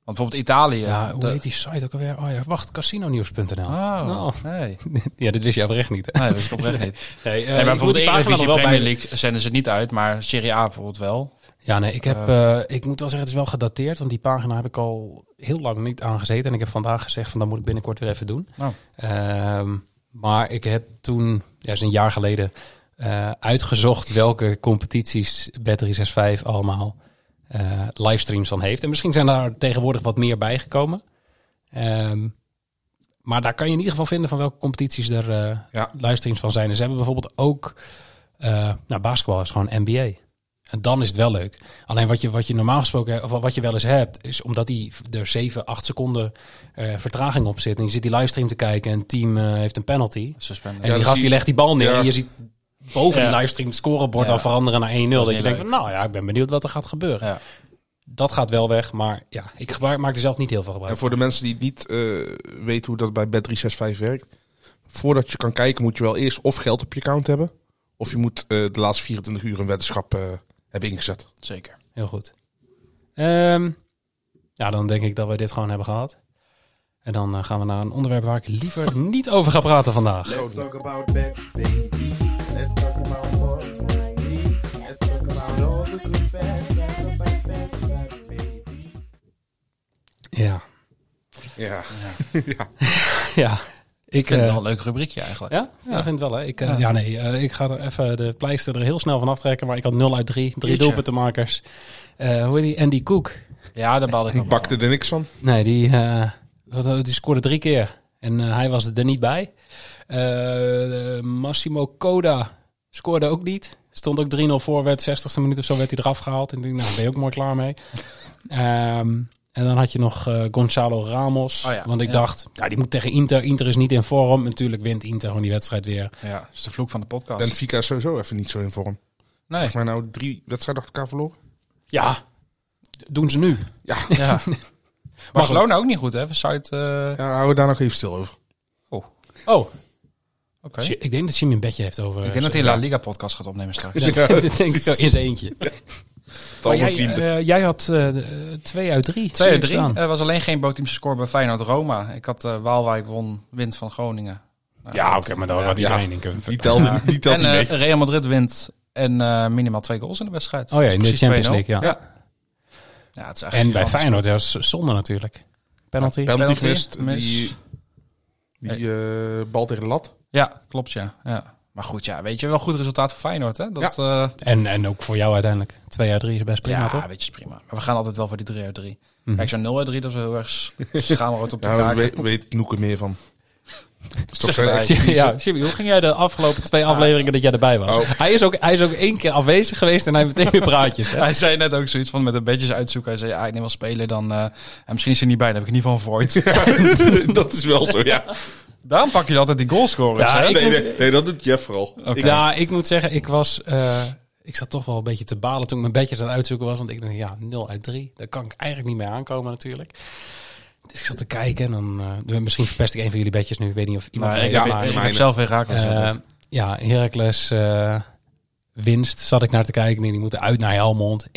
Want bijvoorbeeld Italië. Ja, hoe de- heet die site ook alweer? Oh ja, wacht, casinonieuws.nl. Oh, Nou, nee. ja, dit wist je oprecht niet. Hè? Nee, dat is oprecht niet. Nee, eh, Nee, maar ik moet die bijvoorbeeld pagina Eredivisie er wel bij- Premier League zenden ze niet uit, maar Serie A bijvoorbeeld wel. Ja, nee, ik, heb, eh, ik moet wel zeggen, het is wel gedateerd. Want die pagina heb ik al heel lang niet aangezeten. En ik heb vandaag gezegd van, dat moet ik binnenkort weer even doen. Nou. Ehm, maar ik heb toen, ja, is een jaar geleden, eh, uitgezocht welke competities Bet365 allemaal eh, livestreams van heeft. En misschien zijn daar tegenwoordig wat meer bijgekomen. Ehm, maar daar kan je in ieder geval vinden van welke competities er eh, Ja. livestreams van zijn. En ze hebben bijvoorbeeld ook, eh nou, basketbal is gewoon NBA. En dan is het wel leuk. Alleen wat je, wat je normaal gesproken, of wat je wel eens hebt, is omdat die er 7, 8 seconden eh, vertraging op zit. En je zit die livestream te kijken en het team eh, heeft een penalty. Suspenden. En Ja, die dan gast zie die je- legt die bal neer. Ja. En je ziet boven Ja. die livestream het scorebord Ja. al veranderen naar 1-0. Dat, je niet denkt leuk. van, nou ja, ik ben benieuwd wat er gaat gebeuren. Ja. Dat gaat wel weg, maar ja, ik gebruik, maak er zelf niet heel veel gebruik En voor de mensen die niet eh, weten hoe dat bij Bet365 werkt. Voordat je kan kijken moet je wel eerst of geld op je account hebben. Of je moet eh, de laatste 24 uur een weddenschap eh, hebben ingezet. Zeker. Heel goed. Ehm, ja, dan denk ik dat we dit gewoon hebben gehad. En dan eh, gaan we naar een onderwerp waar ik liever niet over ga praten vandaag. Let's talk about that, baby. Let's talk about all the Let's talk about all the good bad, and the bad, bad, bad, baby. Ja. Ja. ja. Ik, Ik vind eh, het wel een leuk rubriekje eigenlijk. ja? ja, ik vind het wel. Hè. Ik, eh, ja. nee, eh, ik ga er even de pleister er heel snel van aftrekken. Maar ik had 0 uit 3. Drie Jeetje. doelpuntenmakers. Eh hoe heet die? Andy Cook. Ja, daar baalde ik ook Bakte er niks van. Nee, die, eh, wat, eh, die scoorde drie keer. En eh, hij was er niet bij. Eh, eh, Massimo Coda scoorde ook niet. Stond ook 3-0 voor, werd 60ste minuut of zo werd hij eraf gehaald. En ik denk, nou, daar ben je ook mooi klaar mee. Ehm, en dan had je nog eh, Gonzalo Ramos. Oh ja, want ik ja. dacht, ja, die moet tegen Inter. Inter is niet in vorm. Natuurlijk wint Inter gewoon die wedstrijd weer. wel. Ja, dat is de vloek van de podcast. Benfica is sowieso even niet zo in vorm. Nee. Volgens mij nou drie wedstrijden achter elkaar verloren. Ja, doen ze nu. Ja. Barcelona ook niet goed, hè? Site, eh Ja, houden we daar nog even stil over. Oh, oké. Jim- ik denk dat Jimmy een bedje heeft over... Ik denk dat hij een La Liga podcast gaat opnemen straks. dat denk ik wel, in zijn eentje. Tal Maar van jij, vrienden. eh, jij had eh, de- eh, twee uit drie. Twee zie uit ik drie. staan. Er was alleen geen bootteamse score bij Feyenoord-Roma. Ik had eh, Waalwijk won, wint van Groningen. Nou, ja, oké, dat- maar daar had ja. iedereen in kunnen Die telde, die telde En niet mee. eh, Real Madrid wint en eh, minimaal twee goals in de wedstrijd. Oh ja, Dat is in de precies Champions 2-0. League, ja. Ja. Ja, het is eigenlijk En bij gigantisch. Feyenoord, ja, dat is zonde natuurlijk. Penalty. Penalty, penalty gemist. mis. Die, die eh, bal tegen de lat. Ja, klopt ja. ja. Maar goed, ja, weet je, wel goed resultaat voor Feyenoord, hè? Dat, ja, En, en ook voor jou uiteindelijk. Twee uit drie is best prima, ja toch? Mhm. weet je, is prima. Maar we gaan altijd wel voor die 3 uit 3. Kijk, zo'n 0 uit 3, dat is wel heel erg s- schaamrood op de Daar kaak. weet, weet Noeke meer van. Dat is toch Zeg zijn maar. expertise? Ja, Jimmy, hoe ging jij de afgelopen twee afleveringen dat jij erbij was? Oh. Hij, is ook, hij is ook één keer afwezig geweest en hij heeft meteen weer praatjes. Hè? Hij zei net ook zoiets van met de bedjes uitzoeken. Hij zei, ja, ik neem wel spelen, dan... eh, en misschien is hij niet bij, dan heb ik in ieder geval een void. dat is wel zo, ja. Daarom pak je altijd die goalscorers, Ja, hè? ik nee, nee, nee, dat doet Jeff vooral. Ik- Ja, ik moet zeggen, ik was... eh, ik zat toch wel een beetje te balen toen ik mijn bedjes aan het uitzoeken was. Want ik dacht, ja, 0 uit 3. Daar kan ik eigenlijk niet mee aankomen natuurlijk. Dus ik zat te kijken en dan... eh, misschien verpest ik een van jullie bedjes nu. Ik weet niet of iemand... Maar er ik, is, heb, maar- ik heb mijne. zelf weer raak. Eh, ja, Heracles eh, winst zat ik naar te kijken. Nee, die moeten uit naar Helmond. 1,65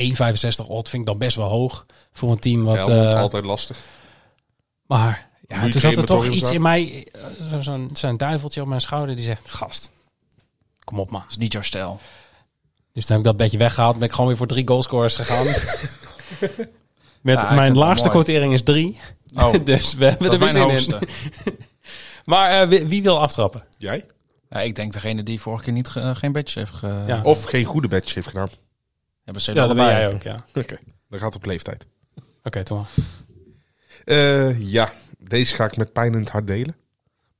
odd vind ik dan best wel hoog voor een team wat... Ja, eh, altijd lastig. maar Ja, Nu toen zat er toch crematorium iets staat. in mij, eh, zo- zo'n zo'n duiveltje op mijn schouder die zegt, gast, kom op man. Dat is niet jouw stijl. Dus toen heb ik dat beetje weggehaald ben ik gewoon weer voor drie goalscorers gegaan. Met Ja, ik vind het mijn wel laagste mooi. quotering is drie. Oh, dat Dus we hebben is er weer mijn zin hoogste. in. Maar eh, wie, wie wil aftrappen? Jij? Ja, ik denk degene die vorige keer niet ge- eh, geen badge heeft ge... Ja. Of geen goede badge heeft gedaan. Hebben ze Ja, dat ben allebei. jij ook, ja. Oké, Oké, dan gaat het op leeftijd. Tom. Eh, ja, deze ga ik met pijn in het hart delen.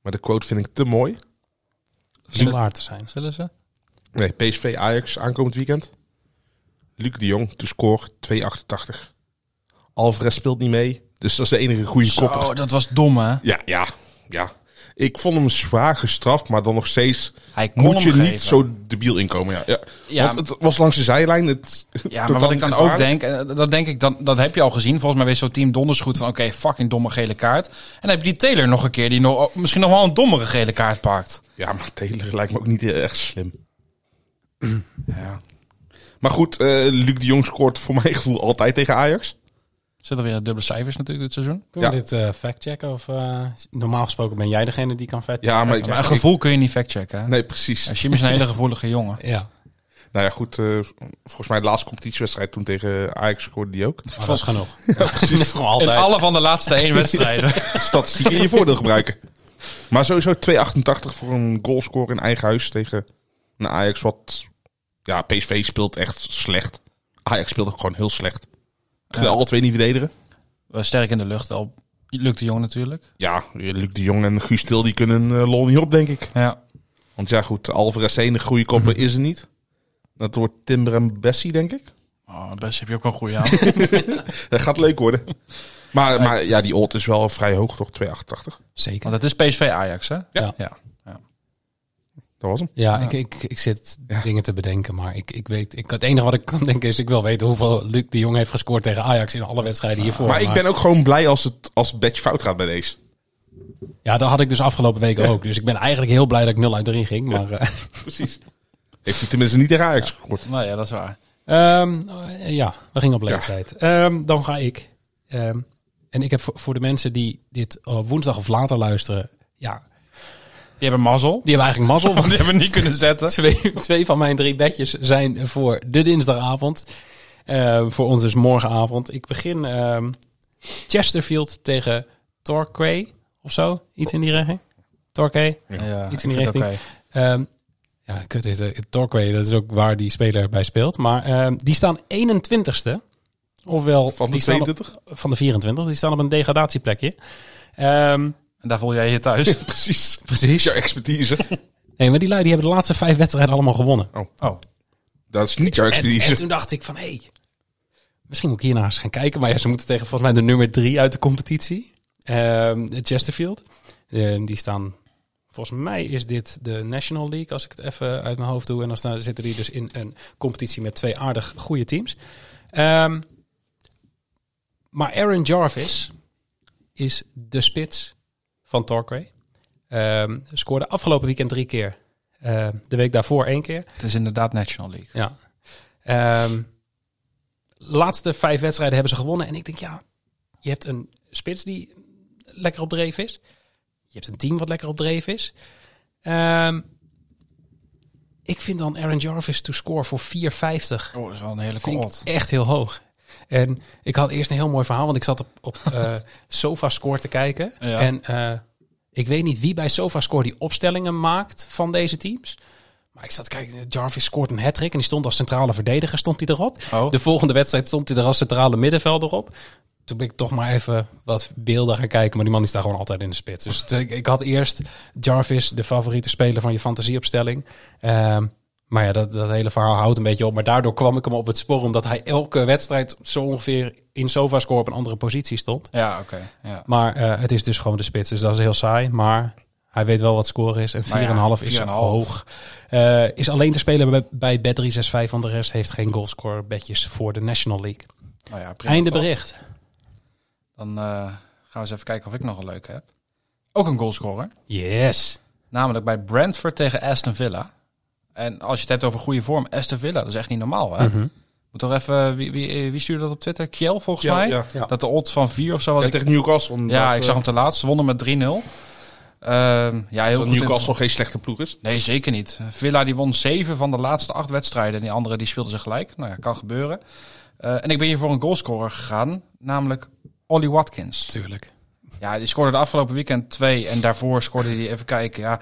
Maar de quote vind ik te mooi. Om waar te zijn. Zullen ze? Nee, PSV Ajax aankomend weekend. Luc de Jong, to score 2,88. Alvarez speelt niet mee, dus dat is de enige goede kopper. Oh, dat was dom, hè? Ja, ja, ja. Ik vond hem zwaar gestraft, maar dan nog steeds Hij kon moet je hem niet geven. zo debiel inkomen. Ja, ja. Ja, Want het was langs de zijlijn. Het, Ja, maar totaal wat ik niet dan ook gevaarlijk. denk, eh, dat denk ik, dan, dat heb je al gezien. Volgens mij weet zo'n team donders goed van, oké, fucking domme gele kaart. En dan heb je die Taylor nog een keer, die nog, oh, misschien nog wel een dommere gele kaart pakt. Ja, maar Taylor lijkt me ook niet heel erg slim. Ja. Maar goed, eh, Luc de Jong scoort voor mijn gevoel altijd tegen Ajax. Zullen we weer dubbele cijfers natuurlijk dit seizoen? Kunnen we Ja. dit eh, factchecken? Of, eh, normaal gesproken ben jij degene die kan factchecken. Ja, maar, Maar een gevoel kun je niet factchecken, hè? Nee, precies. Ja, Jim is een hele gevoelige jongen. Ja. Nou ja, goed. eh, volgens mij de laatste competitiewedstrijd toen tegen Ajax scoorde die ook. Maar Oh, dat is genoeg. precies. Gewoon In altijd. alle van de laatste één wedstrijden. Statistieken in je voordeel gebruiken. Maar sowieso 2,88 voor een goalscore in eigen huis tegen een Ajax wat... Ja, PSV speelt echt slecht. Ajax speelt ook gewoon heel slecht. Terwijl alle twee niet verdedigen. Eh, Sterk in de lucht wel. Lukt de jong natuurlijk. Ja, Luc de Jong en Guus Til die kunnen eh, lol niet op, denk ik. Ja. Want ja, goed, Alvarez de enige goede kopper is er niet. Dat wordt Timber en Bessie, denk ik. Oh, best heb je ook wel een goede aan. Dat gaat leuk worden. Maar, maar ja, die odd is wel vrij hoog, toch? 2,88. Zeker. Want het is PSV Ajax, hè? Ja. ja. Dat was hem. Ja, ik, ik, ik zit dingen te bedenken, maar ik, ik weet, ik, het enige wat ik kan denken is, ik wil weten hoeveel Luc de Jong heeft gescoord tegen Ajax in alle wedstrijden hiervoor. maar ik ben ook gewoon blij als het als het badge fout gaat bij deze. Ja, dat had ik dus afgelopen week ook. Dus ik ben eigenlijk heel blij dat ik 0 uit 3 ging. Maar, eh, Precies. Heeft hij tenminste niet tegen Ajax gescoord. Nou ja, dat is waar. Ehm, eh, ja, we gingen op leeftijd. Ehm, dan ga ik. Ehm, en ik heb voor, voor de mensen die dit op woensdag of later luisteren, ja, Die hebben mazzel. die hebben eigenlijk mazzel. Die Want hebben we niet kunnen zetten. twee, twee van mijn drie bedjes zijn voor de dinsdagavond. Eh, voor ons dus morgenavond. Ik begin ehm, Chesterfield tegen Torquay of zo. Iets in die richting. Torquay. Ja, Iets Iets in in die richting. Ehm, ja, kut is eh, Torquay, dat is ook waar die speler bij speelt. Maar ehm, die staan 21ste. Ofwel, Van de die staan op- 22? van de 24. Die staan op een degradatieplekje. Ehm, En daar voel jij je thuis. Precies. precies. Jouw expertise. Nee, maar die lui die hebben de laatste vijf wedstrijden allemaal gewonnen. Oh, Dat is niet jouw En, en expertise. toen dacht ik van, hé, misschien moet ik hiernaar eens gaan kijken. Maar ja, ze moeten tegen volgens mij de nummer drie uit de competitie. Ehm, de Chesterfield. Ehm, die staan, volgens mij is dit de National League, als ik het even uit mijn hoofd doe. En dan staan, zitten die dus in een competitie met twee aardig goede teams. Ehm, maar Aaron Jarvis is de spits van Torquay. Ehm, scoorde afgelopen weekend drie keer. Ehm, de week daarvoor één keer. het is inderdaad National League. Ja. Ehm, laatste vijf wedstrijden hebben ze gewonnen. En ik denk, ja, je hebt een spits die lekker op dreef is. Je hebt een team wat lekker op dreef is. Ehm, ik vind dan Aaron Jarvis to score voor 4,50. Oh, dat is wel een hele Vind kot. ik echt heel hoog. En ik had eerst een heel mooi verhaal, want ik zat op, op eh, SofaScore te kijken. Ja. En eh, ik weet niet wie bij SofaScore die opstellingen maakt van deze teams. Maar ik zat te kijken, Jarvis scoort een hat en die stond als centrale verdediger stond hij erop. Oh. De volgende wedstrijd stond hij er als centrale middenvelder op. Toen ben ik toch maar even wat beelden gaan kijken. Maar die man is daar gewoon altijd in de spits. Dus t- ik, ik had eerst Jarvis, de favoriete speler van je fantasieopstelling. Ehm, maar ja, dat, dat hele verhaal houdt een beetje op. Maar daardoor kwam ik hem op het spoor. Omdat hij elke wedstrijd zo ongeveer in SofaScore op een andere positie stond. Ja, oké. Ja. Maar eh, het is dus gewoon de spits. Dus dat is heel saai. Maar hij weet wel wat score is. En 4,5 Maar Nou ja, is 4,5. hoog. Eh, is alleen te spelen bij, bij Bet365. Want de rest heeft geen goalscore bedjes voor de National League. Nou ja, prima, Einde toch? bericht. Dan eh, gaan we eens even kijken of ik nog een leuke heb. Ook een goalscorer. Yes. Namelijk bij Ah, Mhm. Mhm. Brentford tegen Aston Villa. En als je het hebt over goede vorm, Aston Villa, dat is echt niet normaal. Hè? Moet toch even, wie, wie, wie stuurde dat op Twitter? Kiel volgens Ja, mij. ja. Ja. Dat de odds van 4 of zo was. Ja, Ik- tegen Newcastle. inderdaad, Ja, ik eh, zag hem te laatst. Ze wonnen met 3-0. Ehm, ja, heel dat goed. Newcastle geen slechte ploeg is. Nee, zeker niet. Villa die won zeven van de laatste acht wedstrijden. En die andere die speelden ze gelijk. Nou ja, kan gebeuren. Eh, en ik ben hier voor een goalscorer gegaan. Namelijk Ollie Watkins. Tuurlijk. Ja, die scoorde de afgelopen weekend twee. En daarvoor scoorde hij, even kijken, ja...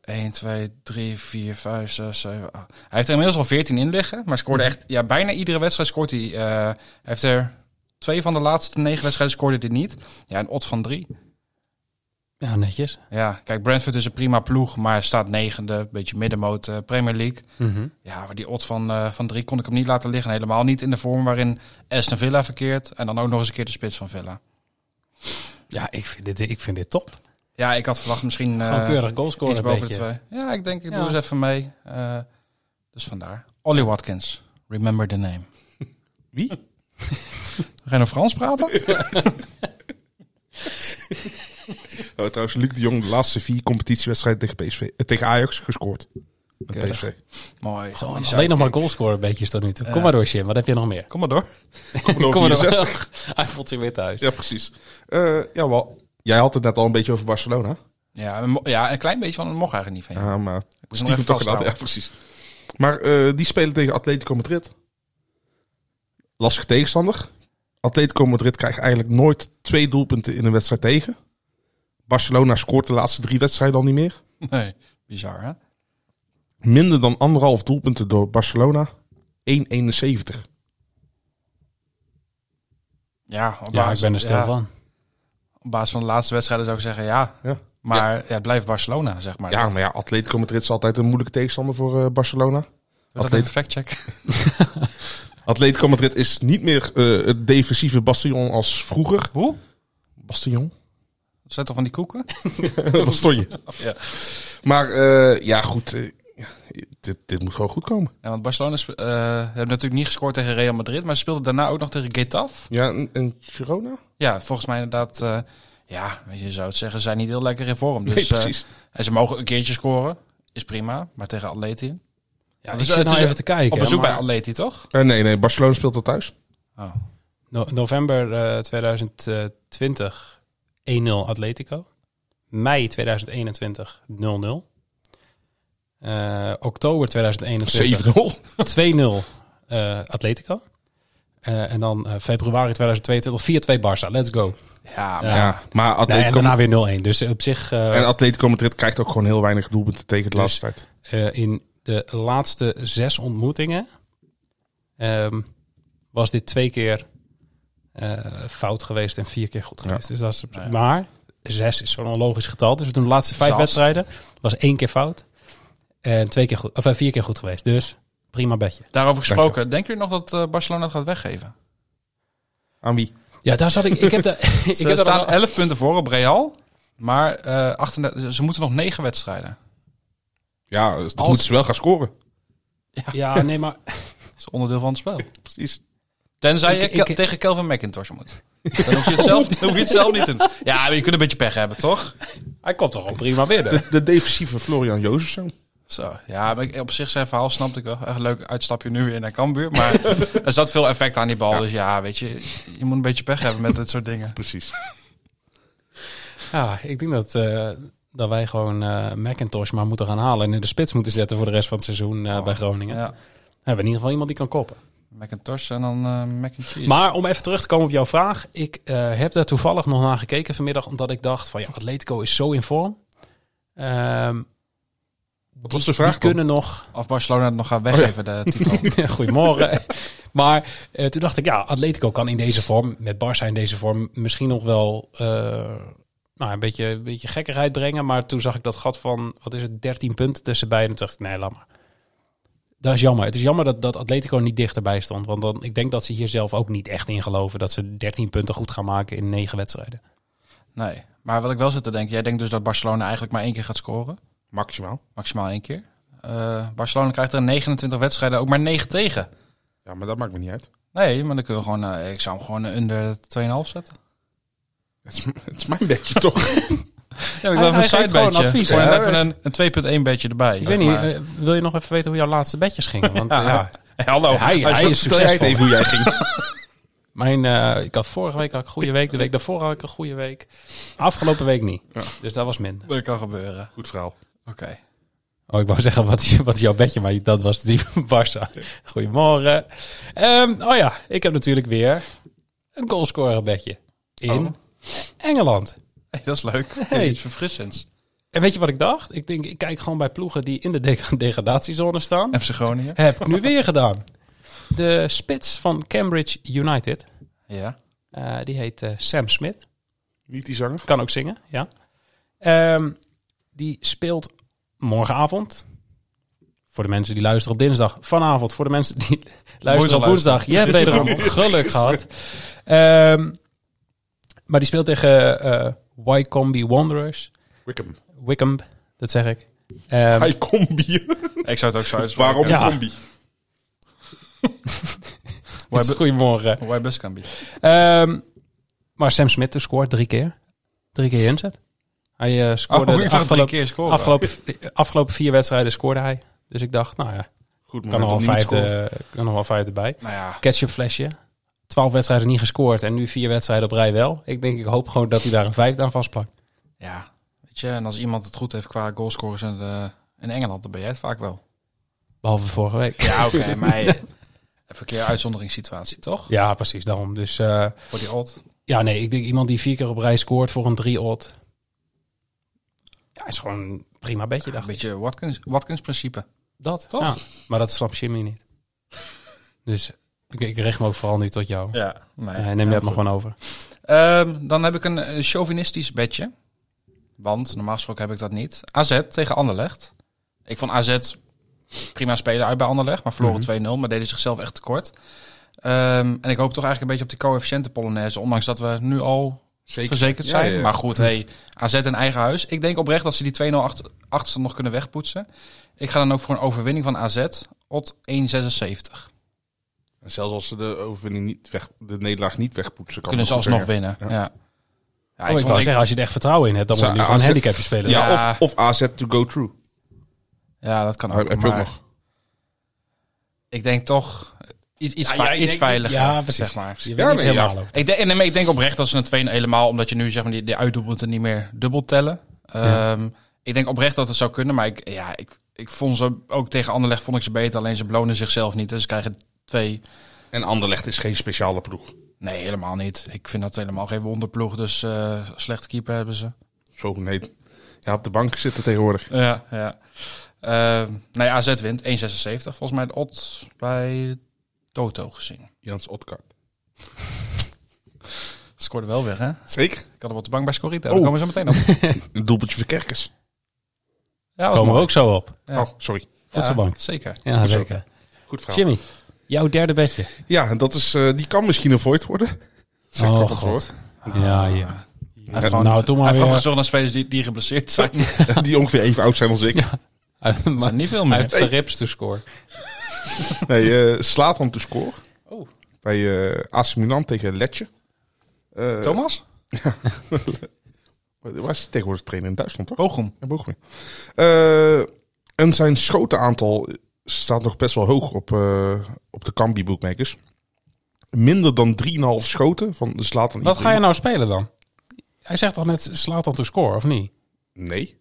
1, 2, 3, 4, 5, 6, 7, 8. Hij heeft er inmiddels al 14 in liggen. Maar scoorde Mhm. echt... Ja, bijna iedere wedstrijd scoort hij... eh, hij heeft er twee van de laatste negen wedstrijden scoorde hij niet. Ja, een odds van drie. Ja, netjes. Ja, kijk, Brentford is een prima ploeg, maar staat negende, beetje middenmoot, eh, Premier League. Ja, maar die odds van, eh, van drie kon ik hem niet laten liggen. Helemaal niet in de vorm waarin Aston Villa verkeert en dan ook nog eens een keer de spits van Villa. Ja, ik vind dit, ik vind dit top. Ja, ik had verwacht misschien eh, Gewoon keurig iets goalscorer boven beetje. de twee. Ja, ik denk, ik Ja. doe eens even mee. Eh, dus vandaar. Ollie Watkins, remember the name. Wie? We gaan over Frans praten? Oh, trouwens, Luc de Jong, de laatste vier competitiewedstrijden tegen, PSV, eh, tegen Ajax gescoord. Met Keurig. PSV. Mooi. Gewoon Mooi, alleen nog maar uitkijk. goalscorer beetjes tot nu toe. Kom maar door, Jim. Wat heb je nog meer? Kom maar door. Kom maar Kom maar door, door. 64. Hij voelt zich weer thuis. Ja, precies. Eh, ja, wel. Jij had het net al een beetje over Barcelona. Ja, een mo- ja, een klein beetje van een mocht eigenlijk niet van jou. Ja, maar Ik moest hem nog stiekem even toch gedaan. vasthouden. Ja, precies. Maar eh, die spelen tegen Atletico Madrid. Lastig tegenstander. Atletico Madrid krijgt eigenlijk nooit twee doelpunten in een wedstrijd tegen. Barcelona scoort de laatste drie wedstrijden al niet meer. Nee, bizar hè? Minder dan anderhalf doelpunten door Barcelona. 1,71. Ja, op Ja, basis- ik ben er stil ja, van. Op basis van de laatste wedstrijden zou ik zeggen ja. Ja. Maar ja. het blijft Barcelona, zeg maar. Ja, Dat- maar ja, Atletico Madrid is altijd een moeilijke tegenstander voor eh, Barcelona. Wil je dat Atleet- even factchecken? Atletico Madrid is niet meer eh, het defensieve bastion als vroeger. Hoe? Bastion? Zet toch van die koeken? Bastonje. Ja. Maar eh, ja, goed. eh, ja, dit, dit moet gewoon goed komen. Ja, want Barcelona spe- eh, hebben natuurlijk niet gescoord tegen Real Madrid, maar ze speelden daarna ook nog tegen Getafe. Ja, en, en Girona? Ja, volgens mij inderdaad. eh, ja, weet je je zou het zeggen, ze zijn niet heel lekker in vorm. Dus, nee, eh, precies. en ze mogen een keertje scoren, is prima. Maar tegen Atleti? Ja, Dus ik het zit nou is even te kijken. Op bezoek maar- bij Atleti, toch? Eh, nee, nee, Barcelona speelt al thuis. Oh. No- november eh, 2020 1-0 Atletico. Mei 2021 0-0. Eh, oktober 2021 7-0. 2-0 eh, Atletico. Eh, en dan eh, februari 2022 4-2 Barça. Let's go. Ja, Ja, maar maar Nee, en Atletico, daarna weer 0-1. Dus op zich eh, en Atletico Madrid krijgt ook gewoon heel weinig doelpunten tegen de Dus- laatste tijd. eh, in de laatste zes ontmoetingen ehm, was dit twee keer eh, fout geweest en vier keer goed geweest. Dus dat is, Maar zes is zo'n onlogisch getal. Dus we doen de laatste vijf Zat. wedstrijden was één keer fout en twee keer goed, of eh, vier keer goed geweest. Dus prima bedje. daarover gesproken. Denken jullie nog dat eh, Barcelona het gaat weggeven? Aan wie? Ja, daar zat ik. Ik heb daar. ik Ze heb daar staan al- 11 punten voor op Real. Maar eh 38, ze moeten nog 9 wedstrijden. Ja, dus dan moeten ze wel gaan scoren. ja, nee, maar Dat is onderdeel van het spel. Precies. Tenzij Ik- je Kel- ik- tegen Kelvin McIntosh moet. Dan hoef je, het zelf, dan hoef je het zelf niet te doen. Ja, maar je kunt een beetje pech hebben, toch? hij komt toch al prima binnen. De, de defensieve Florian Jozefzoon. Zo, ja, maar ik- op zich zijn verhaal snapte ik wel. Echt een leuk uitstapje nu weer naar Cambuur. Maar er zat veel effect aan die bal. Dus ja, weet je, je moet een beetje pech hebben met dit soort dingen. Precies. Ja, ik denk dat, eh, dat wij gewoon eh Macintosh maar moeten gaan halen en in de spits moeten zetten voor de rest van het seizoen eh, bij Groningen. Ja, We hebben in ieder geval iemand die kan koppen. McIntosh en dan eh Mac and Cheese. Maar om even terug te komen op jouw vraag. Ik eh, heb daar toevallig nog naar gekeken vanmiddag. Omdat ik dacht van ja, Atletico is zo in vorm. Ehm, die, Wat was de vraag die dan? kunnen nog... Of Barcelona het nog gaat weggeven, de titel. Goedemorgen. maar eh, toen dacht ik ja, Atletico kan in deze vorm, met Barça in deze vorm, misschien nog wel eh, nou, een, beetje, een beetje gekkigheid brengen. Maar toen zag ik dat gat van, wat is het, 13 punten tussen beiden. En toen dacht ik, nee, laat maar. Dat is jammer. Het is jammer dat, dat Atletico niet dichterbij stond. Want dan, ik denk dat ze hier zelf ook niet echt in geloven. Dat ze 13 punten goed gaan maken in 9 wedstrijden. Nee, maar wat ik wel zit te denken. Jij denkt dus dat Barcelona eigenlijk maar één keer gaat scoren. Maximaal. Maximaal één keer. Eh, Barcelona krijgt er 29 wedstrijden ook maar 9 tegen. Ja, maar dat maakt me niet uit. Nee, maar dan kunnen we gewoon... eh, ik zou hem gewoon eh, onder 2,5 zetten. Het is, het is mijn bedje toch? Ja, ik Hij- wil even hij een geeft sidebedje. gewoon advies, Gewoon hè? even een, een 2.1 bedje erbij. Ik zeg weet niet, maar. eh, wil je nog even weten hoe jouw laatste bedjes gingen? Want, eh, ja. Hallo, Hij, hij is Stel jij het succesvol. even hoe jij ging. Mijn, eh, ik had vorige week had ik een goede week. De week daarvoor had ik een goede week. Afgelopen week niet. Dus dat was minder. Dat kan gebeuren. Goed verhaal. Oké. Oh, ik wou zeggen, wat is, wat is jouw bedje? Maar dat was die van Barça. Goedemorgen. Ehm, oh ja, ik heb natuurlijk weer een goalscorer bedje. In Oh. Engeland. Hey, dat is leuk. Hey. Iets verfrissends. En weet je wat ik dacht? Ik denk, ik kijk gewoon bij ploegen die in de deg- degradatiezone staan. FC Groningen. Heb ik nu weer gedaan. De spits van Cambridge United, Ja. eh, die heet eh, Sam Smith. Niet die zanger. Kan ook zingen, ja. Ehm, die speelt morgenavond. Voor de mensen die luisteren op dinsdag. Vanavond voor de mensen die luisteren op woensdag. Je hebt wederom geluk gehad. Ehm, maar die speelt tegen eh Wycombe Wanderers. Wickham. Wickham, dat zeg ik. Ehm, Hij combi. Ik zou het ook zo uitspreken. Waarom Ja. combi? goedemorgen. Why best can be. Ehm, maar Sam Smith dus scoort drie keer. Drie keer inzet. Hij eh, Oh, scoorde de afgelopen, keer scoren. afgelopen, afgelopen vier wedstrijden scoorde hij. Dus ik dacht, nou ja, Goed kan nog moment wel om niet te vijf, scoren. eh, kan nog wel vijf erbij. Nou ja. Ketchup flesje. Twaalf wedstrijden niet gescoord en nu vier wedstrijden op rij wel. Ik denk, ik hoop gewoon dat hij daar een vijf aan vastplakt. ja. Weet je, en als iemand het goed heeft qua goalscorers in, de- in Engeland, dan ben jij het vaak wel. Behalve vorige week. Ja, oké. maar eh, even een keer uitzonderingssituatie, toch? Ja, precies, daarom. Dus eh, Voor die odd. ja, nee, ik denk iemand die vier keer op rij scoort voor een drie-odd. Ja, is gewoon een prima bedje, Een dacht ik. beetje Watkins, Watkins principe. Dat, toch? Ja, maar dat snapt Jimmy niet. Dus ik, ik richt me ook vooral nu tot jou. Ja. Nee, Eh, neem Ja, jij het maar goed. gewoon over. Ehm, dan heb ik een eh, chauvinistisch bedje. Want normaal gesproken heb ik dat niet. AZ tegen Anderlecht. Ik vond AZ prima spelen uit bij Anderlecht. Maar Mhm. verloren 2-0. Maar deden zichzelf echt tekort. Ehm, en ik hoop toch eigenlijk een beetje op die coëfficiënte Polonaise. Ondanks dat we nu al Zeker. verzekerd Ja, zijn. ja, ja. Maar goed, hey, AZ in eigen huis. Ik denk oprecht dat ze die 2-0 acht- achterstand nog kunnen wegpoetsen. Ik ga dan ook voor een overwinning van AZ. Ot 1,76. En zelfs als ze de overwinning niet weg, de nederlaag niet wegpoetsen, kan Kunnen ze het nog alsnog winnen. Ja. Ja. Oh, ik vond- wou zeggen, als je er echt vertrouwen in hebt, dan moet Zou je nu gewoon AZ een handicapje spelen. Ja, Ja. Of, of AZ to go through. Ja, dat kan ook. Heb- heb je ook maar nog? Ik denk toch iets, iets, Ja, vei- jij iets denkt- veiliger, ja, precies. zeg maar. Je weet Ja, niet nee, ja. helemaal over. Ik denk, nee, maar ik denk oprecht dat ze een 2 helemaal, omdat je nu zeg maar die, die uitdoelpunten niet meer dubbel tellen. Ehm, Ik denk oprecht dat het zou kunnen, maar ik, ja, ik, ik vond ze ook tegen Anderlecht vond ik ze beter, alleen ze belonen zichzelf niet. Dus ze krijgen twee. En Anderlecht is geen speciale ploeg. Nee, helemaal niet. Ik vind dat helemaal geen wonderploeg, dus eh slechte keeper hebben ze. Zo nee. Ja, op de bank zitten tegenwoordig. Ja, ja. Ehm, nee, AZ wint 1,76. Volgens mij de odds bij Toto gezien. Jans Otkaart. Scoorde wel weg, hè? Zeker. Ik had hem op de bank bij Scorita. Oh. Daar komen we zo meteen op. Een doelpuntje voor Kerkers. Ja, was Komen we mooi. ook zo op. Ja. Oh, sorry. Voedselbank. Ja, zeker. Ja, Goed zo. zeker. Goed verhaal. Jimmy, jouw derde bedje. Ja, en dat is, eh, die kan misschien een void worden. Zeg ik Oh, altijd God. voor. Ja, ja. Hij heeft Ja, gewoon, nou, doe maar hij heeft gewoon weer. gezocht naar spelers die, die geblesseerd zijn. Er Die ongeveer even oud zijn als ik. zijn niet veel meer. Hij heeft verrips te scoren. Nee, eh slaat om te scoren. Oh. Bij eh AC Milan tegen Letje. Eh, Thomas? Waar is hij tegenwoordig trainer in Duitsland, toch? Oh. Bochum. Ja, Bochum. Eh, en zijn schotenaantal staat nog best wel hoog op, eh, op de Kambi bookmakers. Minder dan 3,5 schoten van de slaat Wat ga je nou spelen dan? Hij zegt toch net, slaat dan te scoren, of niet? Nee.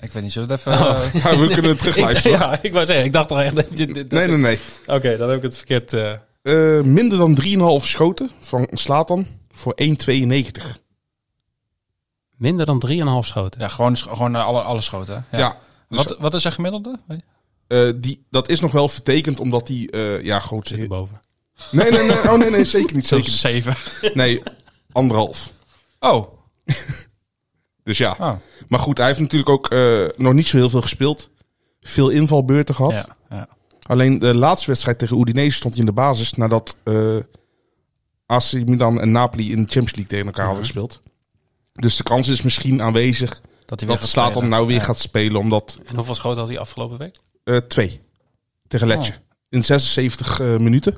Ik weet niet, zullen we het even... eh, Ja, we kunnen het terugluisteren. ja, ik wou zeggen, ik dacht al echt... dat je dit- Nee, nee, nee. Oké, dan heb ik het verkeerd... eh. Eh, minder dan 3,5 schoten van Slatan voor 1,92. Minder dan 3,5 schoten. ja, gewoon, sch- gewoon eh, alle, alle schoten. hè? Ja. Ja. dus- wat, wat is zijn gemiddelde? Eh, die, dat is nog wel vertekend, omdat die... eh, ja, goed. Zit erboven. Nee, nee, nee, oh, nee, nee, zeker niet. Zeker niet. Zeven. Nee, anderhalf. Oh. Dus ja. oh. Maar goed, hij heeft natuurlijk ook eh, nog niet zo heel veel gespeeld. Veel invalbeurten gehad. Ja, ja. Alleen de laatste wedstrijd tegen Udinese stond hij in de basis nadat eh AC Milan en Napoli in de Champions League tegen elkaar hadden gespeeld. Dus de kans is misschien aanwezig Dat hij weer dat gaat Slaat dan spelen. nou weer Ja. gaat spelen, omdat En hoeveel schoten had hij afgelopen week? eh, twee tegen Letje in 76 eh, minuten.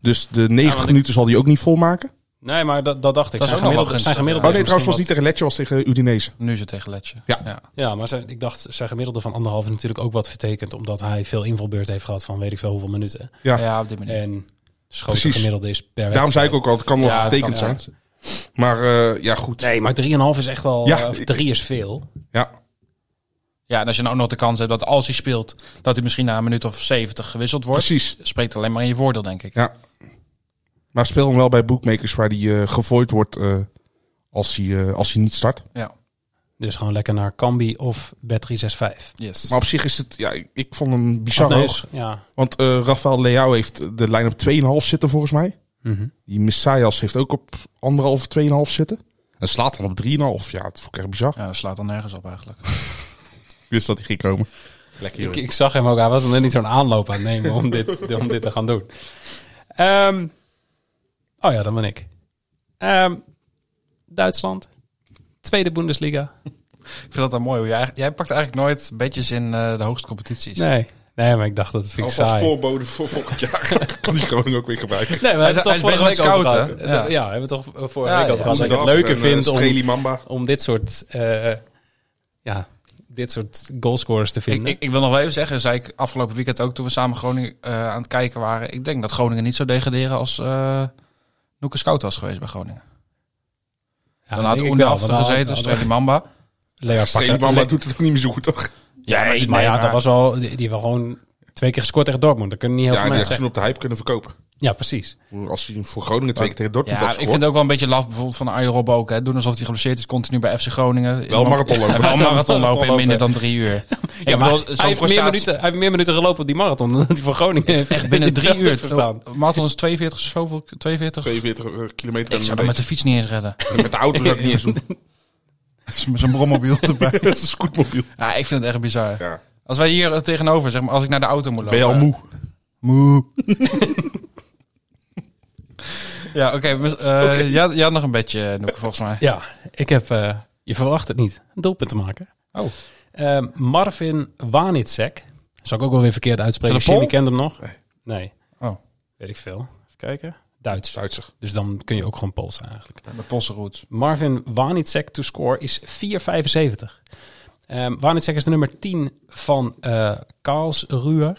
Dus de 90 want ik- Ah, minuten zal hij ook niet volmaken. Nee, maar dat, dat dacht ik. Dat zijn is ook nog wel gemiddelde, zijn gunstig, gemiddelde Oh nee, is trouwens was misschien niet tegen Letje, was tegen Udinese. Nu is het tegen Letje. Ja. wat- Ja, maar zijn, ik dacht, zijn gemiddelde van anderhalf is natuurlijk ook wat vertekend. Omdat hij veel invalbeurt heeft gehad van weet ik veel hoeveel minuten. Ja. ja. op die manier. En schoten Precies. gemiddelde is per Daarom zei ik ook al, het kan wel Ja, het vertekend kan, ja. zijn. Maar eh, ja, goed. Nee, maar 3,5 is echt wel... Ja, Ja, 3 is veel. Ja. Ja, en als je nou ook nog de kans hebt dat als hij speelt, dat hij misschien na een minuut of 70 gewisseld wordt. Precies. Spreekt alleen maar in je voordeel, denk ik. Ja. Maar speel hem wel bij bookmakers waar die eh gevooid wordt eh, als, hij, eh, als hij niet start. Dus gewoon lekker naar Cambi of Bet365. Yes. Maar op zich is het, ja, ik, ik vond hem bizar Of nee, hoog. is- Ja. Want eh Rafael Leao heeft de lijn op 2,5 zitten volgens mij. Mhm. Die Messias heeft ook op anderhalf, 2,5 zitten. En slaat dan op 3,5. Ja, dat vond ik echt bizar. Ja, dat slaat dan nergens op eigenlijk. Ik wist dat hij ging komen. Lekker Ik, ik zag hem ook, hij was nog net niet zo'n aanloop aan het nemen om dit, om dit te gaan doen. Ehm, oh ja, dat ben ik. Ehm, Duitsland, tweede Bundesliga. Ik vind dat dan mooi. hoe Jij, jij pakt eigenlijk nooit bedjes in eh, de hoogste competities. Nee, nee, maar ik dacht dat het vind ik saai. voorbode voor volgend jaar. kan die Groningen ook weer gebruiken. Nee, we Hij is- hebben hij toch is vorige best week wel over koud, gehad. hè? Ja. Ja. we hebben het toch eh, vorige Ja, week over ja. gehad. Dat ik het leuker eh, vind om, eh, Streli Mamba. om dit soort, eh, ja, dit soort goalscorers te Ik, vinden. ik, ik wil nog wel even zeggen, zei ik afgelopen weekend ook toen we samen Groningen eh, aan het kijken waren. Ik denk dat Groningen niet zou degraderen als eh Noeke Scout was geweest bij Groningen. Ja, dan had denk ik Oende wel, achter want dan had- gezeten, Strelly Mamba. Leo Streli Pakken- Mamba doet het ook niet meer zo goed, toch? Ja, maar, maar ja, dat was wel, die, die hebben gewoon twee keer gescoord tegen Dortmund. Dat kunnen niet heel Ja, veel die mensen heeft zeggen. toen op de hype kunnen verkopen. Ja, precies. Als hij voor Groningen twee keer tegen Dortmund Ja, had ik vind het gescoord. ook wel een beetje laf bijvoorbeeld van Arjen Robben ook. Hè. Doen alsof hij geblesseerd is, continu bij FC Groningen. Wel marathon En lopen. wel marathon lopen in lopen. minder dan drie uur. Ik Ja, maar bedoel, hij, zo'n heeft meer prestatie- minuten, hij heeft meer minuten gelopen op die marathon dan dat hij voor Groningen heeft. Echt binnen drie Veld uur. heeft gestaan. Marathon is 42, zoveel, 42. 42 eh, kilometer Ik en zou dat een met beetje. de fiets niet eens redden. met de auto zou ik niet eens doen. Met zo'n brommobiel erbij. Dat is een scootmobiel. Ja, ik vind het echt bizar. Ja. Als wij hier tegenover, zeg maar, als ik naar de auto moet Ben lopen. je al moe? Ja, oké. mis- eh, jij, had- jij had nog een beetje, Noeke, volgens mij. Ja, ik heb, eh, je verwacht het niet, een doelpunt te maken. Oh. Eh, Marvin Wanitsek. Zal ik ook wel weer verkeerd uitspreken. Is dat een Jimmy kent hem nog. Nee. Nee. Oh. Weet ik veel. Even kijken. Duits. Duitser. Dus dan kun je ook gewoon Pools zijn eigenlijk. Met Possenroots. Marvin Wanitsek to score is 4,75. Ehm Wanitsek is de nummer 10 van eh Karlsruhe.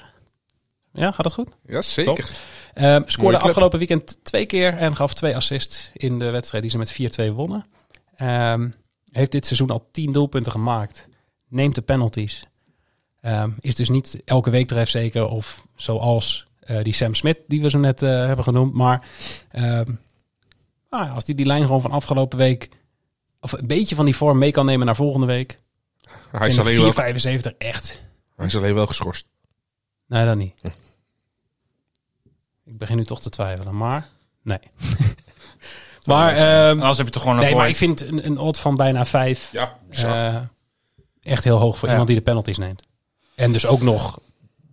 Ja, gaat dat goed? Ja, zeker. Ehm Mooie scoorde club. afgelopen weekend twee keer en gaf twee assists in de wedstrijd die ze met 4-2 wonnen. Ehm, heeft dit seizoen al 10 doelpunten gemaakt. Neemt de penalties. Ehm, is dus niet elke week tref zeker of zoals eh, die Sam Smith die we zo net eh, hebben genoemd. Maar ehm, nou ja, als die die lijn gewoon van afgelopen week of een beetje van die vorm mee kan nemen naar volgende week. Hij is, vind alleen ik wel, 4,75 echt. hij is alleen wel geschorst. Nee, dat niet. Ik begin nu toch te twijfelen, maar nee. maar, ehm, Anders heb je toch gewoon een nee, maar gooi. ik vind een, een odd van bijna vijf Ja, eh, echt heel hoog voor Ja. iemand die de penalties neemt. En dus ook nog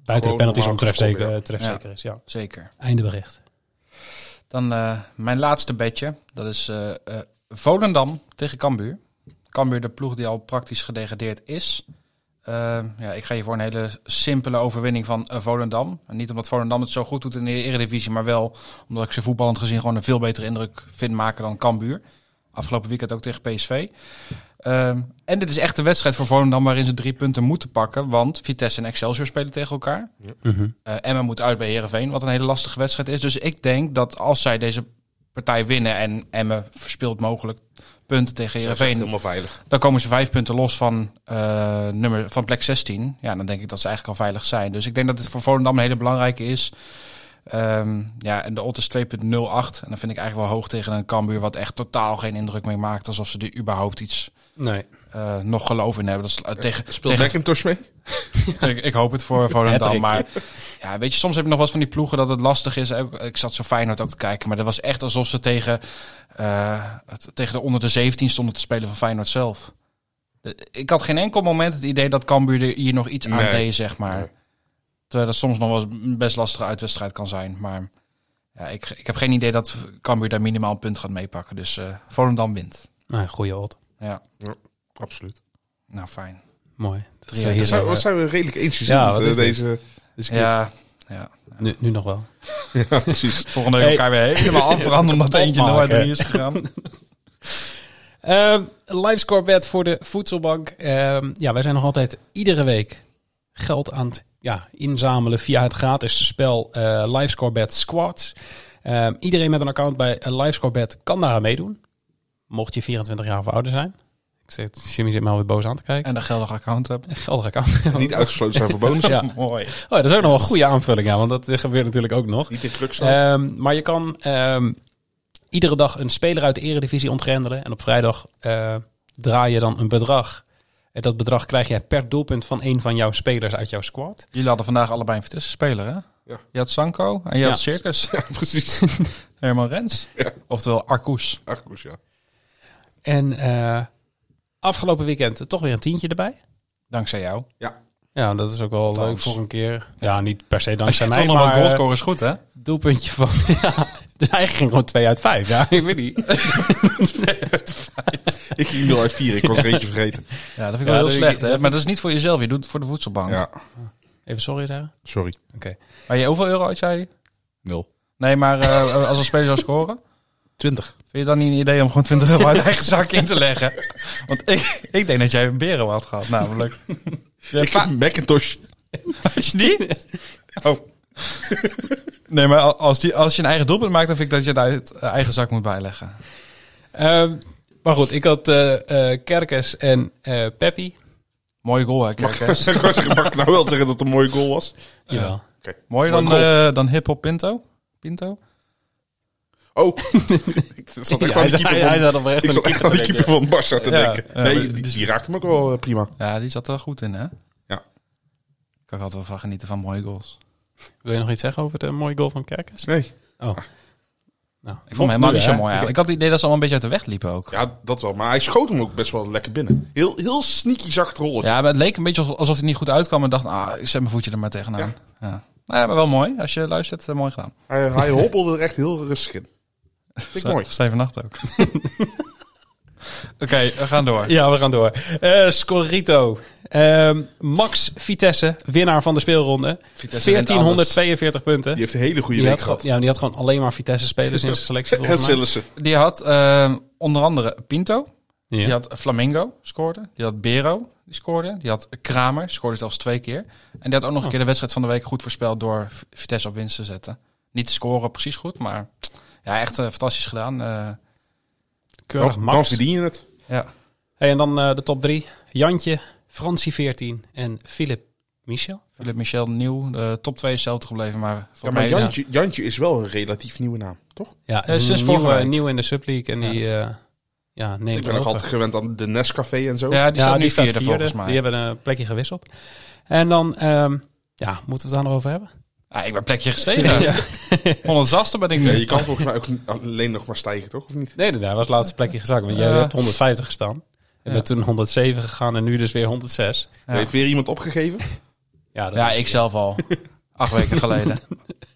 buiten Gewoon de penalties om normaal gescoord, trefzeker, trefzeker is. Ja. Zeker. Eindebericht. Dan eh, mijn laatste bedje. Dat is eh, eh, Volendam tegen Cambuur. Cambuur, de ploeg die al praktisch gedegradeerd is. Eh, ja, ik ga hier voor een hele simpele overwinning van eh, Volendam. En niet omdat Volendam het zo goed doet in de Eredivisie, maar wel omdat ik ze voetballend gezien gewoon een veel betere indruk vind maken dan Cambuur. Afgelopen weekend ook tegen PSV. Ehm, en dit is echt de wedstrijd voor Volendam waarin ze drie punten moeten pakken. Want Vitesse en Excelsior spelen tegen elkaar. Eh, Emma moet uit bij Herenveen, wat een hele lastige wedstrijd is. Dus ik denk dat als zij deze partij winnen en Emma verspeelt mogelijk punten tegen Herenveen, helemaal veilig. dan komen ze vijf punten los van, eh, nummer, van plek 16. Ja, dan denk ik dat ze eigenlijk al veilig zijn. Dus ik denk dat dit voor Volendam een hele belangrijke is. Ehm, ja, en de odd is 2.08. En dan vind ik eigenlijk wel hoog tegen een Cambuur... wat echt totaal geen indruk meer maakt... alsof ze er überhaupt iets Nee. eh, nog geloof in hebben. Dat is, eh, tegen, Speelt tegen- McIntosh mee? ik, ik hoop het voor Volendam. Hattrick. Maar ja, weet je, soms heb je nog wat van die ploegen dat het lastig is. Ik, ik zat zo Feyenoord ook te kijken, maar dat was echt alsof ze tegen, eh, het- tegen de onder de 17 stonden te spelen van Feyenoord zelf. De- Ik had geen enkel moment het idee dat Cambuur er hier nog iets aan Nee. deed, zeg maar. Nee. Terwijl dat soms nog wel eens een best lastige uitwedstrijd kan zijn. Maar ja, ik, ik heb geen idee dat Cambuur daar minimaal een punt gaat meepakken. Dus eh Volendam wint. Nou, goede odd. Ja, Absoluut. nou fijn. Mooi. Dat Drie we uit hier Dat zijn, zo, dat eh, zijn we redelijk eens gezien Ja, ja, wat is dit? deze, deze keer. Ja, ja. nu, nu nog wel. Ja, precies. Volgende week elkaar weer helemaal afbranden omdat eentje nooit Opmaken. erin is gegaan. Ehm Livescorebed voor de voedselbank. Ehm, ja, wij zijn nog altijd iedere week geld aan het ja, inzamelen via het gratis spel eh Livescorebed Squads. Ehm, iedereen met een account bij eh, Livescorebed kan daar aan meedoen. Mocht je 24 jaar of ouder zijn. Ik zit, Jimmy zit me alweer boos aan te kijken. En een geldig account hebt. Een geldig account. Niet uitgesloten zijn voor bonussen. ja. Mooi. Oh, dat is ook nog wel een goede aanvulling, ja, want dat eh, gebeurt natuurlijk ook nog. Niet in druk staan. Ehm, maar je kan ehm, iedere dag een speler uit de eredivisie ontgrendelen. En op vrijdag eh, draai je dan een bedrag. En dat bedrag krijg jij per doelpunt van een van jouw spelers uit jouw squad. Jullie hadden vandaag allebei een Vitesse speler, hè? Ja. Je had Sanko en je Ja. had Circus. precies. Herman Rens. Ja. Oftewel Arkoes. Arcus, ja. En eh, afgelopen weekend toch weer een tientje erbij. Dankzij jou. Ja, dat is ook wel leuk Trouwens. voor een keer. Ja, niet per se Als je dankzij toch mij, nog wat maar goal eh, scoren is goed, hè? doelpuntje van... ja, hij ging gewoon 2 uit 5. Ja, ik weet niet. Ik ging 0 uit 4. Ik was er eentje vergeten. Ja, dat vind ik Ja, wel heel dat- slecht, hè? dat- Maar dat is niet voor jezelf, je doet het voor de voedselbank. Ja, Even sorry zeggen. sorry. Maar je, hoeveel euro had jij? Nul. Nee, maar eh, als een speler zou scoren, 20. vind je dan niet een idee om gewoon 20 euro uit eigen zak in te leggen? Want ik, ik denk dat jij een beren had gehad, namelijk. Je Ik heb een Macintosh. Is die? Oh. Nee, maar al- als, die, als je een eigen doelpunt maakt, dan vind ik dat je het uit eh, eigen zak moet bijleggen. Ehm, maar goed, ik had eh eh, Kerkes en eh Peppi. Mooie goal, hè, Mag, Kerkers? ik wou zeggen, mag ik nou wel zeggen dat het een mooie goal was? Jawel. Mooier dan, eh, dan hip-hop Pinto? Pinto? Oh, ik zat echt aan de keeper van, ik zat echt aan de keeper van Barca te Ja, denken. ja. Nee, die, die raakte hem ook wel eh, prima. Ja, die zat er wel goed in, hè? Ja. Ik kan altijd wel van genieten van mooie goals. Wil je nog iets zeggen over de mooie goal van Kerkers? Nee. Nou, Ik vond hem helemaal niet zo mooi Ik, eigenlijk. Ik had het idee dat ze allemaal een beetje uit de weg liepen ook. Ja, dat wel. Maar hij schoot hem ook best wel lekker binnen. Heel, heel sneaky zacht rollen. Ja, maar het leek een beetje alsof alsof hij niet goed uitkwam. En dacht, ah, ik zet mijn voetje er maar tegenaan. Ja. Nou ja, maar wel mooi. Als je luistert, eh, mooi gedaan. Hij, hij hobbelde er echt heel rustig in. Vind ik mooi. Zij vannacht ook. Oké, we gaan door. ja, we gaan door. Eh Scorrito. Ehm, Max Vitesse, winnaar van de speelronde. Vitesse wint 1442 punten. Die heeft een hele goede Die week had, gehad. gewoon- ja, die had gewoon alleen maar Vitesse-spelers in zijn selectie. En volgens mij. Sillissen. Die had eh, onder andere Pinto. Die Ja. had Flamingo, scoorde. Die had Bero, die scoorde. Die had Kramer, scoorde zelfs twee keer. En die had ook Oh. nog een keer de wedstrijd van de week goed voorspeld door V- Vitesse op winst te zetten. Niet te scoren precies goed, maar ja, echt eh, fantastisch gedaan. Eh, Keurig Oh, Dan, dan Max. verdien je het. ja. Hey, en dan eh, de top drie. Jantje, Fransie 14 en Philip Michel. Philip Michel nieuw, de top 2 is hetzelfde gebleven, maar Ja, voor maar mij Jantje, Jantje is wel een relatief nieuwe naam, toch? Ja, Eh, is sinds een vorige nieuwe, week. nieuw in de subleague. En die eh, ja, neemt Ik ben nog over. altijd gewend aan de Nescafé en zo. ja, die ja, staat die nu staat vierde, volgens vierde. mij. Die hebben een plekje gewisseld. En dan, ehm, ja, moeten we het daar nog over hebben? Ah, ik ben plekje gestegen. Ja. 106 ben ik nu. Nee, je kan volgens mij ook n- alleen nog maar stijgen, toch? Of niet? Nee, daar was laatste plekje gezakt. Want jij Ja. hebt 150 gestaan. En bent toen 107 gegaan en nu dus weer 106. Ja. Heeft weer iemand opgegeven? Ja, dat Ja, is- ik zelf al. Acht weken geleden.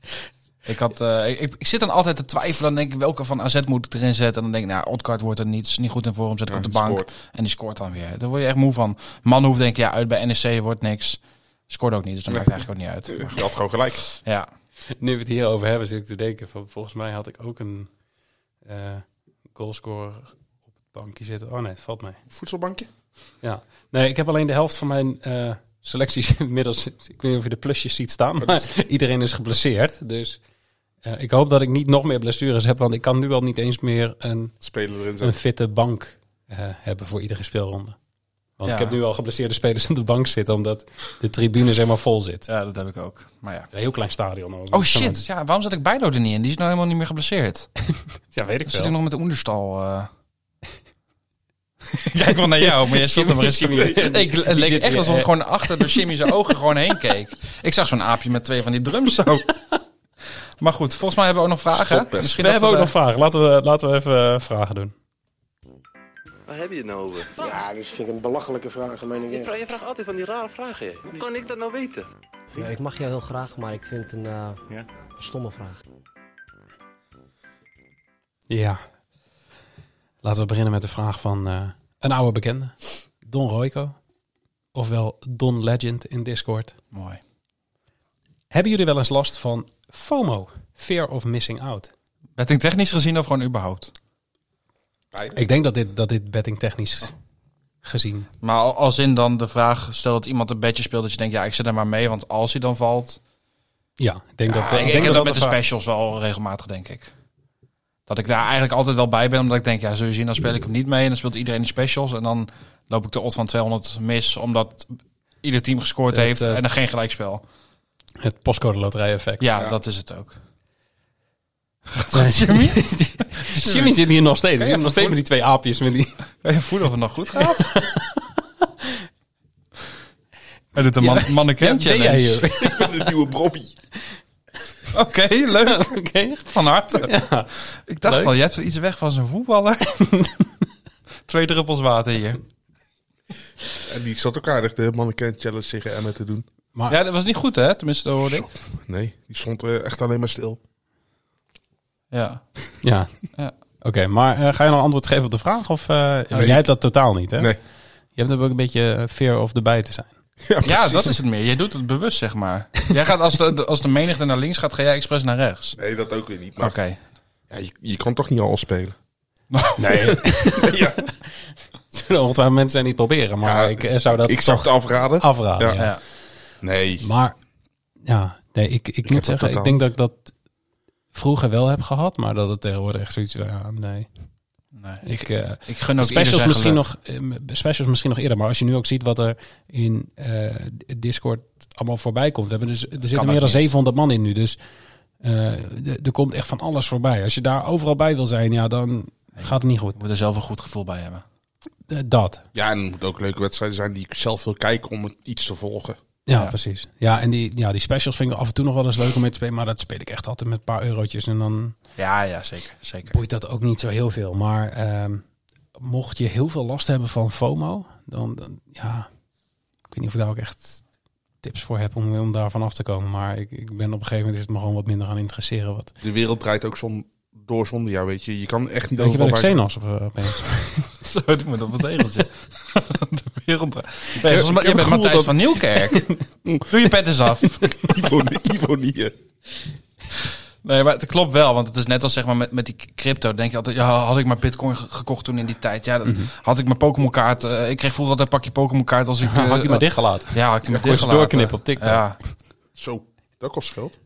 Ik, had, eh, ik, ik zit dan altijd te twijfelen. Dan denk ik, welke van AZ moet ik erin zetten? En dan denk ik, nou, Odgaard wordt er niet, is niet goed in vorm. Zet ik Ja, op de die bank. scoort. En die scoort dan weer. Daar word je echt moe van. Manhoef denk ik, ja, uit bij NEC wordt niks. Scoort ook niet, dus dat maakt eigenlijk ook niet uit. Je eh, had gewoon gelijk. Ja, Nu we het hierover hebben, zit ik te denken van... Volgens mij had ik ook een eh goalscorer op het bankje zitten. Oh nee, het valt mij. Voedselbankje? Ja. Nee, ik heb alleen de helft van mijn eh, selecties inmiddels... Ik weet niet of je de plusjes ziet Oh, staan, maar iedereen is geblesseerd. Dus eh, ik hoop dat ik niet nog meer blessures heb. Want ik kan nu al niet eens meer een Spelen erin zo. een fitte bank eh, hebben voor iedere speelronde. Want Ja. ik heb nu al geblesseerde spelers aan de bank zitten, omdat de tribune zeg maar vol zit. ja dat heb ik ook. Maar ja. Een heel klein stadion ook. Oh shit, ja, waarom zat ik Bijlo er niet in? Die is nou helemaal niet meer geblesseerd. Ja, weet ik Dan zit ik wel. nog met de Oenderstal. eh. Ik Kijk wel naar jou, maar jij zit er maar eens. Jimmy- Ik, het leek zit echt weer, alsof ik eh, gewoon achter door Jimmy zijn ogen gewoon heen keek. Ik zag zo'n aapje met twee van die drums zo. Maar goed, volgens mij hebben we ook nog vragen. Stop, hè. Misschien We hebben ook nog dat vragen. Laten we, laten we even eh, vragen doen. Waar heb je het nou over? Ja, dat vind ik een belachelijke vraag, meen ik. Je vraagt, je vraagt altijd van die rare vragen. Hoe kan ik dat nou weten? Ja, ik mag jou heel graag, maar ik vind het een eh, stomme vraag. Ja. Laten we beginnen met de vraag van eh, een oude bekende. Don Royco. Ofwel Don Legend in Discord. Mooi. Hebben jullie wel eens last van FOMO? Fear of missing out. Betting technisch gezien of gewoon überhaupt? Ik denk dat dit, dat dit betting technisch gezien. Maar al- als in dan de vraag, stel dat iemand een bedje speelt, dat je denkt, ja, ik zit er maar mee, want als hij dan valt... Ja, ik denk dat... Ja, ik, ik denk heb dat met de een vraag- specials wel regelmatig, denk ik. Dat ik daar eigenlijk altijd wel bij ben, omdat ik denk, ja, zul je zien, dan speel ik hem niet mee en dan speelt iedereen de specials en dan loop ik de odd van 200 mis, omdat ieder team gescoord Het, heeft eh, en dan geen gelijkspel. Het postcode loterij effect. Ja, dat is het ook. Jimmy? Jimmy zit hier nog steeds. Hij je zit nog steeds met die twee aapjes. Met die... Kan je voelen of het nog goed gaat? Hij doet een man Ja, mannequin ja, ben jij challenge. hier? Ik ben de nieuwe Bobby. Oké, leuk. Oké. Van harte. Ja. Ik dacht Leuk. al, je hebt iets weg van zo'n voetballer. Twee druppels water hier. En die zat ook aardig de mannequin challenge tegen Emma te doen. Maar Ja, dat was niet goed, hè? Tenminste, dat hoorde ik. Nee, die stond eh, echt alleen maar stil. Ja. Ja. Ja. Oké, maar eh, ga je nog antwoord geven op de vraag? Of eh, jij hebt dat totaal niet, hè? Nee. Je hebt ook een beetje eh, fear of erbij te zijn. ja, precies. dat is het meer. Jij doet het bewust, zeg maar. Jij gaat als de, de- als de menigte naar links gaat, ga jij expres naar rechts. Nee, dat ook weer niet. Oké. Maar ja, je, je kan toch niet al spelen? Nee. ja. Zullen ongetwijfeld Nou, eh, mensen zijn niet proberen, maar Ja, ik eh, zou dat ik zou het Ah. afraden. afraden. Ja. ja. Ja. Nee. Maar ja, nee, ik, ik, moet dat zeggen, ik totaal denk dat ik dat vroeger wel heb gehad, maar dat het tegenwoordig echt zoiets van, ja, nee. Nee, ik, Ik, eh, ik gun ook specials, ieder misschien zijn geluk. nog, eh, specials misschien nog eerder, maar als je nu ook ziet wat er in eh, Discord allemaal voorbij komt. We hebben dus, er zitten ook meer dan niet. 700 man in nu, dus eh, d- er komt echt van alles voorbij. Als je daar overal bij wil zijn, ja, dan gaat het niet goed. Je moet er zelf een goed gevoel bij hebben. Eh, dat. Ja, en het moet ook leuke wedstrijden zijn die ik zelf wil kijken om het iets te volgen. Ja, Ja. precies. Ja, en die, ja, die specials vind ik af en toe nog wel eens leuk om mee te spelen. Maar dat speel ik echt altijd met een paar eurotjes. En dan Ja, ja, zeker. zeker. boeit dat ook niet zo heel veel. Maar ehm, mocht je heel veel last hebben van FOMO, dan, dan ja, ik weet niet of ik daar ook echt tips voor heb om, om daar af te komen. Maar ik, ik ben op een gegeven moment is het me gewoon wat minder gaan interesseren. Wat, De wereld draait ook zon, door zonder jou, weet je. Je kan echt niet weet je overal wel, ik bij- Xenos op- opeens. Zo, ik moet op het tegeltje. De wereld. Je heb- ik heb het bent gevoel Matthijs dat- van Nieuwkerk. Doe je pet eens af. Ivo, Ivo niet, eh. hè. Nee, maar het klopt wel. Want het is net als zeg maar met, met die crypto. Denk je altijd, ja, had ik maar bitcoin ge- gekocht toen in die tijd. Ja, dat, had ik mijn Pokémon kaart. eh, ik kreeg vroeger altijd een pakje Pokémon kaart als ik... eh, Had je maar eh, dichtgelaten. Ja, had ik die maar Kon je ze dichtgelaten. doorknippen op TikTok. Ja. Zo, dat kost geld.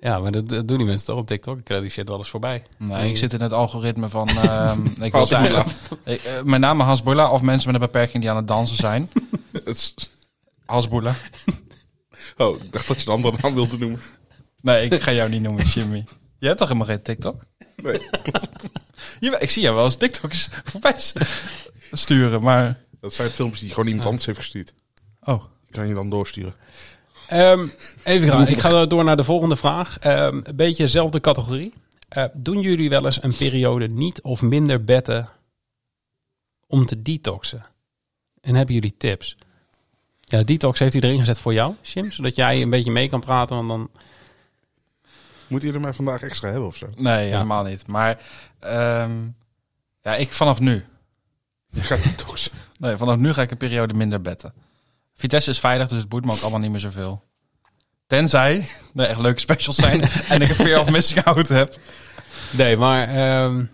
Ja, maar dat, dat doen die mensen toch op TikTok. Ik krijg die shit wel eens voorbij. Nee, ik zit in het algoritme van... ehm, ik Hans wil eigenlijk- Ik, eh, met name Hasbulla of mensen met een beperking die aan het dansen zijn. Het is- Hasbulla. oh, ik dacht dat je een andere naam wilde noemen. Nee, ik ga jou niet noemen, Jimmy. Jij hebt toch helemaal geen TikTok? Nee, Jawel, ik zie jou wel eens TikToks voorbij s- sturen, maar... dat zijn filmpjes die gewoon iemand anders heeft gestuurd. Oh. Die kan je dan doorsturen. Ehm, even gaan. Ik ga door naar de volgende vraag. Ehm, een beetje dezelfde categorie. Eh, doen jullie wel eens een periode niet of minder betten om te detoxen? En hebben jullie tips? Ja, detox heeft hij erin gezet voor jou, Jim, zodat jij een beetje mee kan praten. Want dan Moet je er maar vandaag extra hebben of zo? Nee, helemaal niet. Maar ehm, ja, ik vanaf nu. Je gaat niet toch Nee, vanaf nu ga ik een periode minder betten. Vitesse is veilig, dus het boeit me ook allemaal niet meer zoveel. Tenzij er echt leuke specials zijn en ik een fear of missing out heb. nee, maar ehm,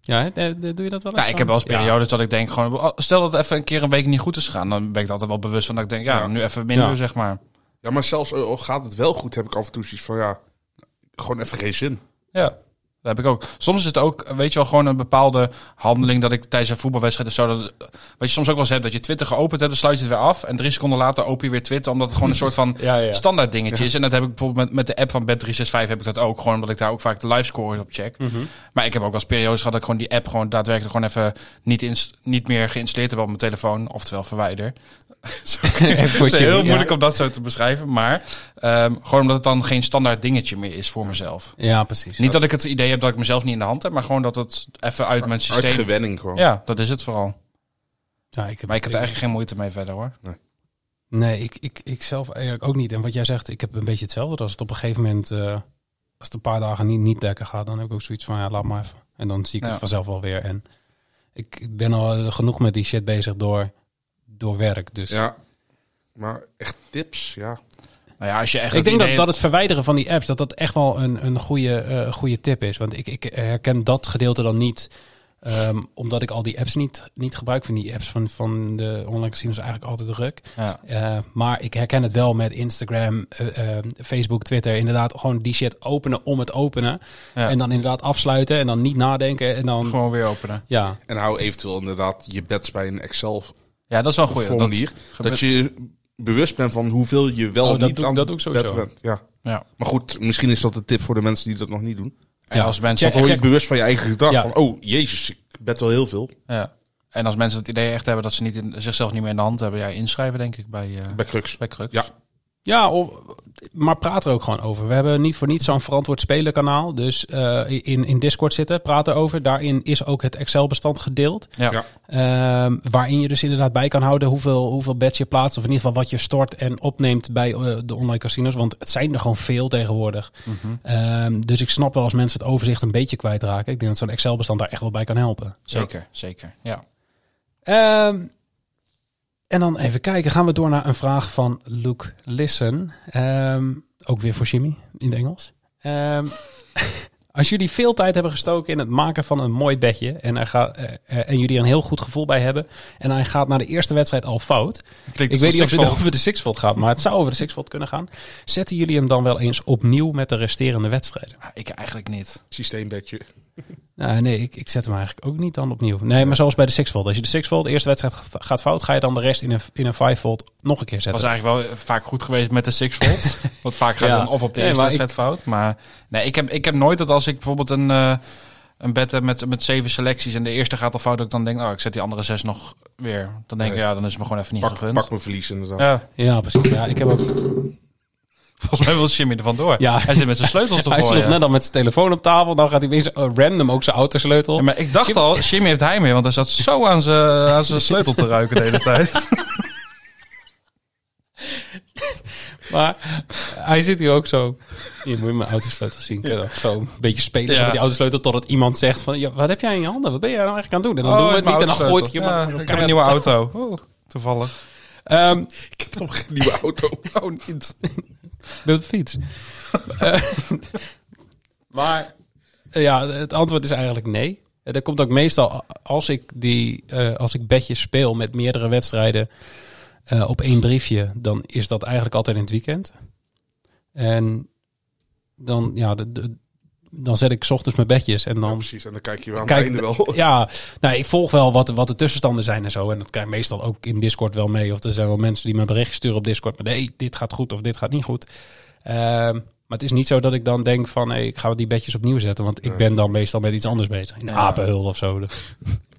ja, hè, eh, doe je dat wel eens? Ja, Nou, ik heb wel eens dan? Ja. periodes dat ik denk gewoon... oh, Stel dat het even een keer een week niet goed is gegaan. Dan ben ik er altijd wel bewust van dat ik denk, ja, Ja. nu even minder, Ja. zeg maar. Ja, maar zelfs eh, al gaat het wel goed, heb ik af en toe zoiets van ja, gewoon even geen zin. Ja, dat heb ik ook. Soms is het ook, weet je wel, gewoon een bepaalde handeling dat ik tijdens een voetbalwedstrijd of zo... Dat, wat je soms ook wel eens hebt, dat je Twitter geopend hebt, dan sluit je het weer af. En drie seconden later open je weer Twitter, omdat het gewoon een soort van Ja, ja. standaard dingetje is. En dat heb ik bijvoorbeeld met, met de app van Bet365 heb ik dat ook. Gewoon omdat ik daar ook vaak de live scores op check. Maar ik heb ook wel eens periodes gehad dat ik gewoon die app gewoon daadwerkelijk gewoon even niet, ins- niet meer geïnstalleerd heb op mijn telefoon. Oftewel verwijder. Zo kun je- Even voor Het is Jimmy, heel ja. moeilijk om dat zo te beschrijven. Maar ehm, gewoon omdat het dan geen standaard dingetje meer is voor mezelf. Ja, precies. Niet dat ik het idee heb dat ik mezelf niet in de hand heb, maar gewoon dat het even uit mijn Uit systeem. gewenning gewoon. Ja, dat is het vooral. Ja, ik heb, Maar ik heb er eigenlijk geen moeite mee verder hoor. Nee, ik, ik, ik zelf eigenlijk ook niet. En wat jij zegt, ik heb een beetje hetzelfde. Als het op een gegeven moment, eh, als het een paar dagen niet, niet lekker gaat, dan heb ik ook zoiets van, ja, laat maar even. En dan zie ik Ja. het vanzelf wel weer. En ik, ik ben al eh, genoeg met die shit bezig door, door werk. Dus Ja, maar echt tips, ja. Nou ja, als je echt Ik het denk dat, idee dat het verwijderen van die apps, dat dat echt wel een, een goede, eh, goede tip is. Want ik, ik herken dat gedeelte dan niet, ehm, omdat ik al die apps niet, niet gebruik van die apps van, van de online casinos eigenlijk altijd druk. Ja. Eh, maar ik herken het wel met Instagram, eh, eh, Facebook, Twitter. Inderdaad, gewoon die shit openen om het openen. Ja. En dan inderdaad afsluiten en dan niet nadenken. En dan Gewoon weer openen. Ja. En hou eventueel inderdaad je bets bij een Excel Ja, dat is wel een goeie. Dat- formulier. Dat, je bewust bent van hoeveel je wel Oh, dat niet doe- aan dat doe ik sowieso. bed bent. Ja. Ja. Maar goed, misschien is dat een tip voor de mensen die dat nog niet doen. En Ja. als mensen Dan dat word je hoor je- bewust van je eigen gedrag. Ja. Van, oh, jezus, ik bet wel heel veel. ja. En als mensen het idee echt hebben dat ze niet in, zichzelf niet meer in de hand hebben, ja, inschrijven denk ik bij, eh Bij Crux. bij Crux. Ja. Ja, of- maar praat er ook gewoon over. We hebben niet voor niets zo'n verantwoord spelen kanaal. Dus eh, in, in Discord zitten, praat erover. Daarin is ook het Excel-bestand gedeeld. Ja. Ja. Ehm, waarin je dus inderdaad bij kan houden hoeveel, hoeveel bets je plaatst. Of in ieder geval wat je stort en opneemt bij eh, de online casinos. Want het zijn er gewoon veel tegenwoordig. Ehm, dus ik snap wel als mensen het overzicht een beetje kwijtraken. Ik denk dat zo'n Excel-bestand daar echt wel bij kan helpen. Zeker, zeker. Ja. Ehm, en dan even kijken. Gaan we door naar een vraag van Luke Lissen. Ehm, ook weer voor Jimmy in het Engels. Ehm, als jullie veel tijd hebben gestoken in het maken van een mooi bedje. En, er gaat, eh, eh, en jullie er een heel goed gevoel bij hebben. En hij gaat naar de eerste wedstrijd al fout. Ik weet niet of het over de Sixfold gaat. Maar het zou over de Sixfold kunnen gaan. Zetten jullie hem dan wel eens opnieuw met de resterende wedstrijden? Ah, Ik eigenlijk niet. Systeembedje. Nou, nee, ik, ik zet hem eigenlijk ook niet dan opnieuw. Nee, maar zoals bij de sixfold. Als je de sixfold de eerste wedstrijd g- gaat fout, ga je dan de rest in een, in een fivefold nog een keer was zetten. eigenlijk wel eh, vaak goed geweest met de six volt. Want vaak gaat Ja. dan of op de Nee, eerste maar wedstrijd fout. Maar nee, ik heb, ik heb nooit dat als ik bijvoorbeeld een, eh een bed heb met, met zeven selecties en de eerste gaat al fout, dat ik dan denk, oh, ik zet die andere zes nog weer. Dan denk ik, Nee. ja, dan is het me gewoon even niet Pak, gegund. pak mijn verlies inderdaad. Ja, Ja, precies. Ja, ik heb ook... volgens mij wil Jimmy er vandoor. Ja. Hij zit met zijn sleutels te Hij sloeg gooien. net al met zijn telefoon op tafel. Dan gaat hij weer zo- oh, random ook zijn autosleutel. Ja, maar ik dacht al, Jimmy heeft hij mee, want hij zat zo aan zijn aan zijn sleutel te ruiken de hele tijd. Maar hij zit hier ook zo. Hier moet je mijn autosleutel zien. Kun je dat Zo een beetje spelen zo Ja. met die autosleutel totdat iemand zegt van... Ja, wat heb jij in je handen? Wat ben jij nou eigenlijk aan het doen? En dan doen we het niet en dan gooit hij hem Ja, maar zo ik heb keihard een nieuwe auto. Oh, toevallig. Ehm, Nieuwe auto. Oh, niet. Wil op de fiets. Eh, maar eh, ja, het antwoord is eigenlijk nee. Eh, Dat komt ook meestal a- als ik, die, eh, als ik bedjes speel met meerdere wedstrijden eh, op één briefje, dan is dat eigenlijk altijd in het weekend. En dan, ja, de, de- dan zet ik 's ochtends mijn bedjes en dan Precies, en dan kijk je wel aan Kijk, het einde wel. ja, nou, ik volg wel wat, wat de tussenstanden zijn en zo. En dat krijg ik meestal ook in Discord wel mee. Of er zijn wel mensen die me berichten sturen op Discord. Maar nee, dit gaat goed of dit gaat niet goed. Ehm, maar het is niet zo dat ik dan denk van... Hey, ik ga die bedjes opnieuw zetten. Want ik ben dan meestal met iets anders bezig. In Ja. apenhul of zo.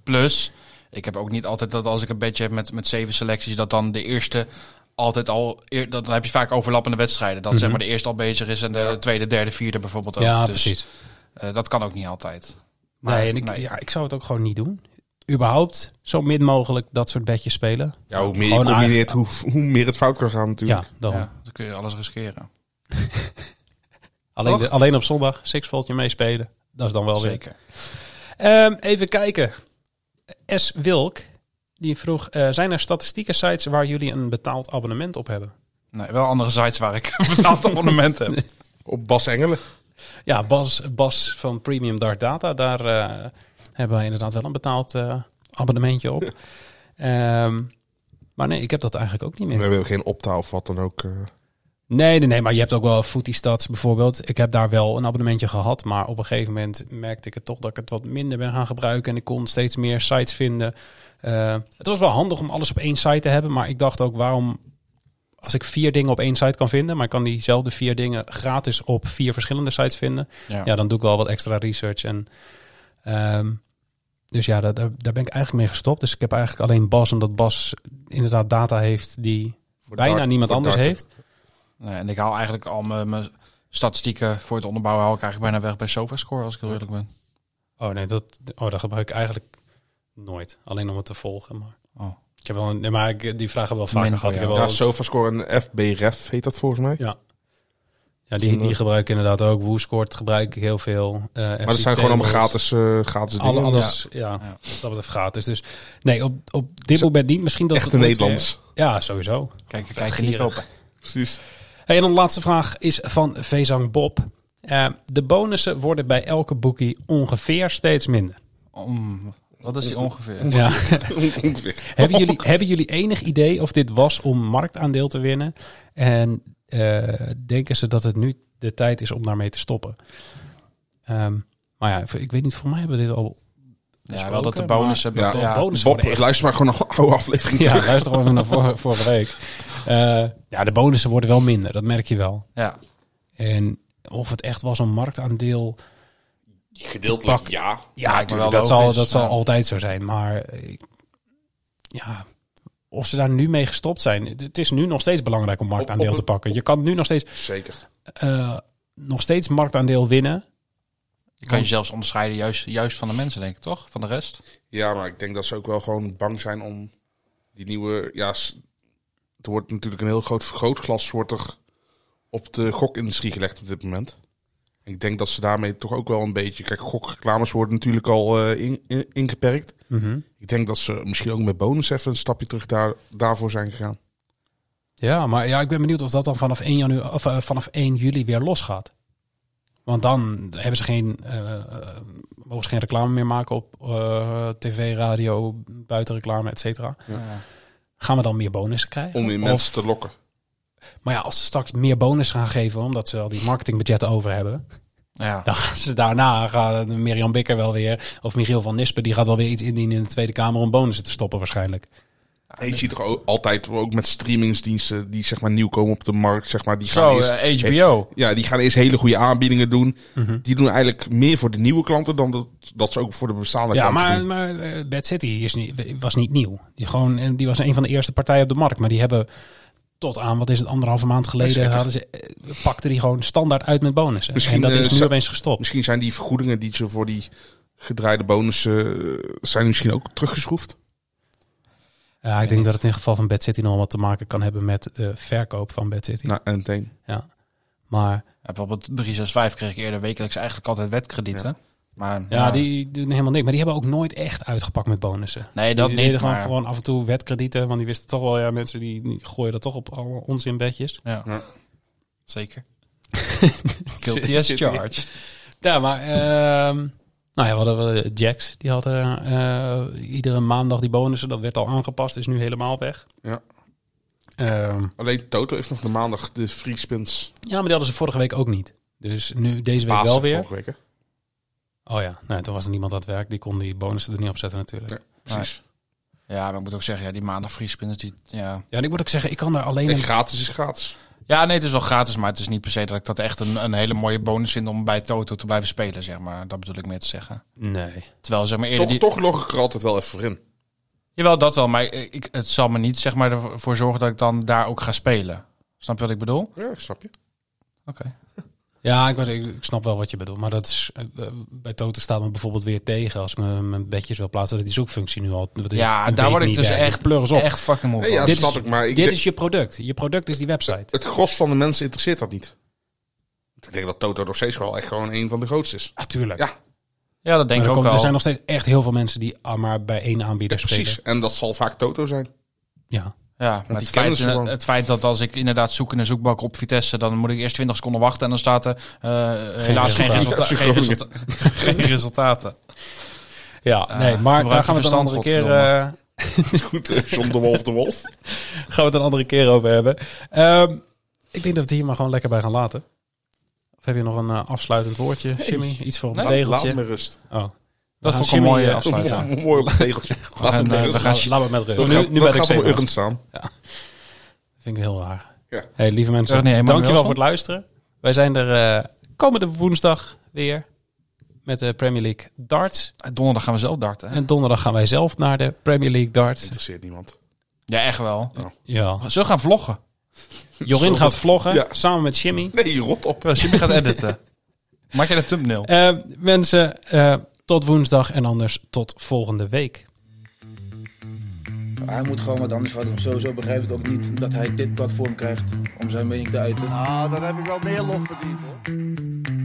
Plus, ik heb ook niet altijd dat als ik een bedje heb met, met zeven selecties, dat dan de eerste altijd al, eer- dat, dan heb je vaak overlappende wedstrijden. Dat zeg maar de eerste al bezig is en de tweede, derde, vierde bijvoorbeeld ook. Mhm. ja, Dus, precies. eh, dat kan ook niet altijd. Maar, nee, en ik, nee. Ja, ik zou het ook gewoon niet doen. Überhaupt zo min mogelijk dat soort bedjes spelen. Ja, hoe meer je Gewoon combineert, hoe, hoe meer het fout kan gaan natuurlijk. Ja, dan. Ja, dan kun je alles riskeren. Alleen, de- Toch? alleen op zondag, sixfoldje meespelen. Dat is dan wel weer Zeker. Ehm, even kijken. S. Wilk, die vroeg... eh, zijn er statistieken sites waar jullie een betaald abonnement op hebben? Nee, wel andere sites waar ik een betaald abonnement heb. Op Bas Engelen. Ja, Bas, Bas van Premium Dark Data. Daar eh, hebben wij inderdaad wel een betaald eh, abonnementje op. Ehm, maar nee, ik heb dat eigenlijk ook niet We meer. hebben geen optaal of wat dan ook. eh. Nee, nee, nee. Maar je hebt ook wel Footy Stats bijvoorbeeld. Ik heb daar wel een abonnementje gehad. Maar op een gegeven moment merkte ik het toch dat ik het wat minder ben gaan gebruiken. En ik kon steeds meer sites vinden. Eh, het was wel handig om alles op één site te hebben. Maar ik dacht ook, waarom... Als ik vier dingen op één site kan vinden, maar ik kan diezelfde vier dingen gratis op vier verschillende sites vinden, Ja. ja, dan doe ik wel wat extra research. En, ehm, dus ja, daar, daar daar ben ik eigenlijk mee gestopt. Dus ik heb eigenlijk alleen Bas, omdat Bas inderdaad data heeft die Voor bijna Dart- niemand voor anders Dart- heeft. Nee, en ik haal eigenlijk al mijn, mijn statistieken voor het onderbouwen haal ik eigenlijk bijna weg bij SofaScore, als ik heel eerlijk ben. Oh nee, dat, oh, dat gebruik ik eigenlijk nooit. Alleen om het te volgen. Maar Oh. ik heb wel een, nee, maar ik, die vragen wel vaker Min gehad. Ik voor heb jou. wel, Ja, Sofascore en FBref heet dat volgens mij. ja, die, die gebruik ik inderdaad ook. WooScoort gebruik ik heel veel. eh, maar dat zijn gewoon allemaal gratis, eh, gratis Alle, dingen. alles, ja. Ja. dat betreft gratis. Dus nee, op, op dit Zo- moment niet. Misschien dat Echte het ooit Nederlands. weer- Ja, sowieso. Kijk, kijk je niet gierig. op. Precies. Hey, en dan de laatste vraag is van Vezang Bob. Eh, de bonussen worden bij elke boekie ongeveer steeds minder. Om, wat is die ongeveer? Ja. hebben, jullie, hebben jullie enig idee of dit was om marktaandeel te winnen? En eh, denken ze dat het nu de tijd is om daarmee te stoppen? Ehm, maar ja, ik weet niet, voor mij hebben we dit al. Ja, wel besproken, dat de maar- bonus hebben. Ja, Ja, bonussen Bob, worden echt- luister maar gewoon een oude aflevering. Ja, terug. luister gewoon even naar vor- vorige week. Eh, ja, de bonussen worden wel minder, dat merk je wel. ja. En of het echt was om marktaandeel. Gedeeltelijk Pak- ja. Ja, Lijkt natuurlijk, me wel dat, zal, logisch, dat zal maar- altijd zo zijn. Maar eh, ja, of ze daar nu mee gestopt zijn. Het- Het is nu nog steeds belangrijk om marktaandeel op- te pakken. Je kan nu nog steeds, Zeker. eh, nog steeds marktaandeel winnen. Je kan je zelfs onderscheiden juist, juist van de mensen, denk ik, toch? Van de rest. Ja, maar ik denk dat ze ook wel gewoon bang zijn om die nieuwe... Ja, s- er wordt natuurlijk een heel groot vergrootglas soortig op de gokindustrie gelegd op dit moment. Ik denk dat ze daarmee toch ook wel een beetje... Kijk, gokreclames worden natuurlijk al eh, in- in- ingeperkt. Mhm. Ik denk dat ze misschien ook met bonus even een stapje terug daar, daarvoor zijn gegaan. Ja, maar ja, ik ben benieuwd of dat dan vanaf 1, januari, of, eh, vanaf 1 juli weer losgaat. Want dan hebben ze geen, eh, eh, mogen ze geen reclame meer maken op eh, tv, radio, buitenreclame, et cetera. Gaan we dan meer bonussen krijgen? Om in Of- mensen te lokken. Maar ja, als ze straks meer bonus gaan geven, omdat ze al die marketingbudgetten over hebben, Nou Ja. dan gaan ze daarna, gaan Mirjam Bikker wel weer, of Michiel van Nispen, die gaat wel weer iets indienen in de Tweede Kamer om bonussen te stoppen waarschijnlijk. En je ziet toch ook altijd ook met streamingsdiensten die zeg maar nieuw komen op de markt, zeg maar, die gaan Zo, Nou, eerst- eh, HBO. Ja, die gaan eerst hele goede aanbiedingen doen. Mhm. Die doen eigenlijk meer voor de nieuwe klanten dan dat, dat ze ook voor de bestaande Ja, klanten maar, doen. maar eh, Bad City is niet, was niet nieuw. Die, gewoon, en die was een van de eerste partijen op de markt. Maar die hebben tot aan, wat is het, anderhalve maand geleden, hadden ze, eh, pakten die gewoon standaard uit met bonussen. Misschien, en dat is eh, nu zou- opeens gestopt. Misschien zijn die vergoedingen die ze voor die gedraaide bonussen eh, zijn misschien ook teruggeschroefd. Ja, ik denk dat het in geval van Bad City nog wat te maken kan hebben met de verkoop van Bad City. Nou, en meteen. Ja. Maar Ja, bijvoorbeeld 365 kreeg ik eerder wekelijks eigenlijk altijd wetkredieten. Maar, nou, ja, die doen helemaal niks. Maar die hebben ook nooit echt uitgepakt met bonussen. Nee, dat die niet, deden gewoon, maar- gewoon af en toe wetkredieten. Want die wisten toch wel, ja, mensen die, die gooien dat toch op alle onzinbedjes. Ja. Ja. Zeker. Guilty as Zit- charged. Ja, maar ehm, nou ja, we hadden we Jax. Die hadden eh, iedere maandag die bonussen. Dat werd al aangepast, is nu helemaal weg. Ja. Ehm, Alleen Toto heeft nog de maandag de free spins ja, maar die hadden ze vorige week ook niet. Dus nu deze week Pasen wel weer. vorige week, hè? Oh ja, nou, toen was er niemand aan het werk. Die kon die bonussen er niet op zetten natuurlijk. Nee. Precies. Ja, maar ik moet ook zeggen, ja, die maandag vriespinnen, die... Ja. Ja, en ik moet ook zeggen, ik kan daar alleen... En een- gratis is gratis. ja, nee, het is wel gratis, maar het is niet per se dat ik dat echt een, een hele mooie bonus vind om bij Toto te blijven spelen, zeg maar. Dat bedoel ik meer te zeggen. Nee. Terwijl, zeg maar, eerder Toch, die... toch log ik er altijd wel even voor in. Jawel, dat wel, maar ik, het zal me niet, zeg maar, ervoor zorgen dat ik dan daar ook ga spelen. Snap je wat ik bedoel? Oké. Ja, snap je. Ja, ik, was, ik, ik snap wel wat je bedoelt. Maar dat is, eh, eh, bij Toto staat me bijvoorbeeld weer tegen als ik mijn, mijn bedjes wil plaatsen. Dat die zoekfunctie nu al... wat is het, Ja, een daar week word ik niet dus werkt. echt, pleuris op. echt fucking moe Nee, van. ja, Dit snap is- ik, maar ik Dit denk- is je product. Je product is die website. Het gros van de mensen interesseert dat niet. Ik denk dat Toto nog steeds wel echt gewoon een van de grootste is. Natuurlijk. Ja, Ja, dat denk Maar ik er, ook komen- wel. er zijn nog steeds echt heel veel mensen die ah, maar bij één aanbieder Ja, precies. spelen. En dat zal vaak Toto zijn. Ja. Ja, maar die het kennen feit, ze gewoon. het feit dat als ik inderdaad zoek in de zoekbalk op Vitesse, dan moet ik eerst 20 seconden wachten en dan staat er eh, helaas geen, resulta resultaat. geen, resulta- geen resultaten. Ja, nee, maar daar Eh, gebruik gaan we je het een verstand, andere keer, godverdomme. eh, Goed, eh, John de Wolf de Wolf. gaan we het een andere keer over hebben. Ehm, ik denk dat we het hier maar gewoon lekker bij gaan laten. Of heb je nog een eh, afsluitend woordje, Jimmy? Iets voor op het Laat tegeltje? me rust. Oh. Dat vond ik een eh, mooie afsluiting. Mooi- Mooi op het tegeltje. Laat gaan, me eh, rust. we gaan- Laat me met Dat rust. gaat, Nu, nu dat ben ik gaat op mijn zenuwachtig. urn staan. vind ik heel raar. Ja. Hey, lieve mensen, Zeg, nee, Emmanuel dankjewel Wilson. voor het luisteren. Wij zijn er eh, komende woensdag weer met de Premier League darts. Donderdag gaan we zelf darten. hè? En donderdag gaan wij zelf naar de Premier League darts. Interesseert niemand. Ja, echt wel. Ja. Zullen we gaan vloggen? Jorin gaat vloggen Ja. samen met Jimmy. Nee, rot op. Jimmy gaat editen. Maak jij de thumbnail? Eh, mensen, eh, tot woensdag en anders tot volgende week. Hij moet gewoon wat anders gaan doen. Sowieso begrijp ik ook niet dat hij dit platform krijgt om zijn mening te uiten. Ah, dan heb ik wel meer lof verdiend hoor.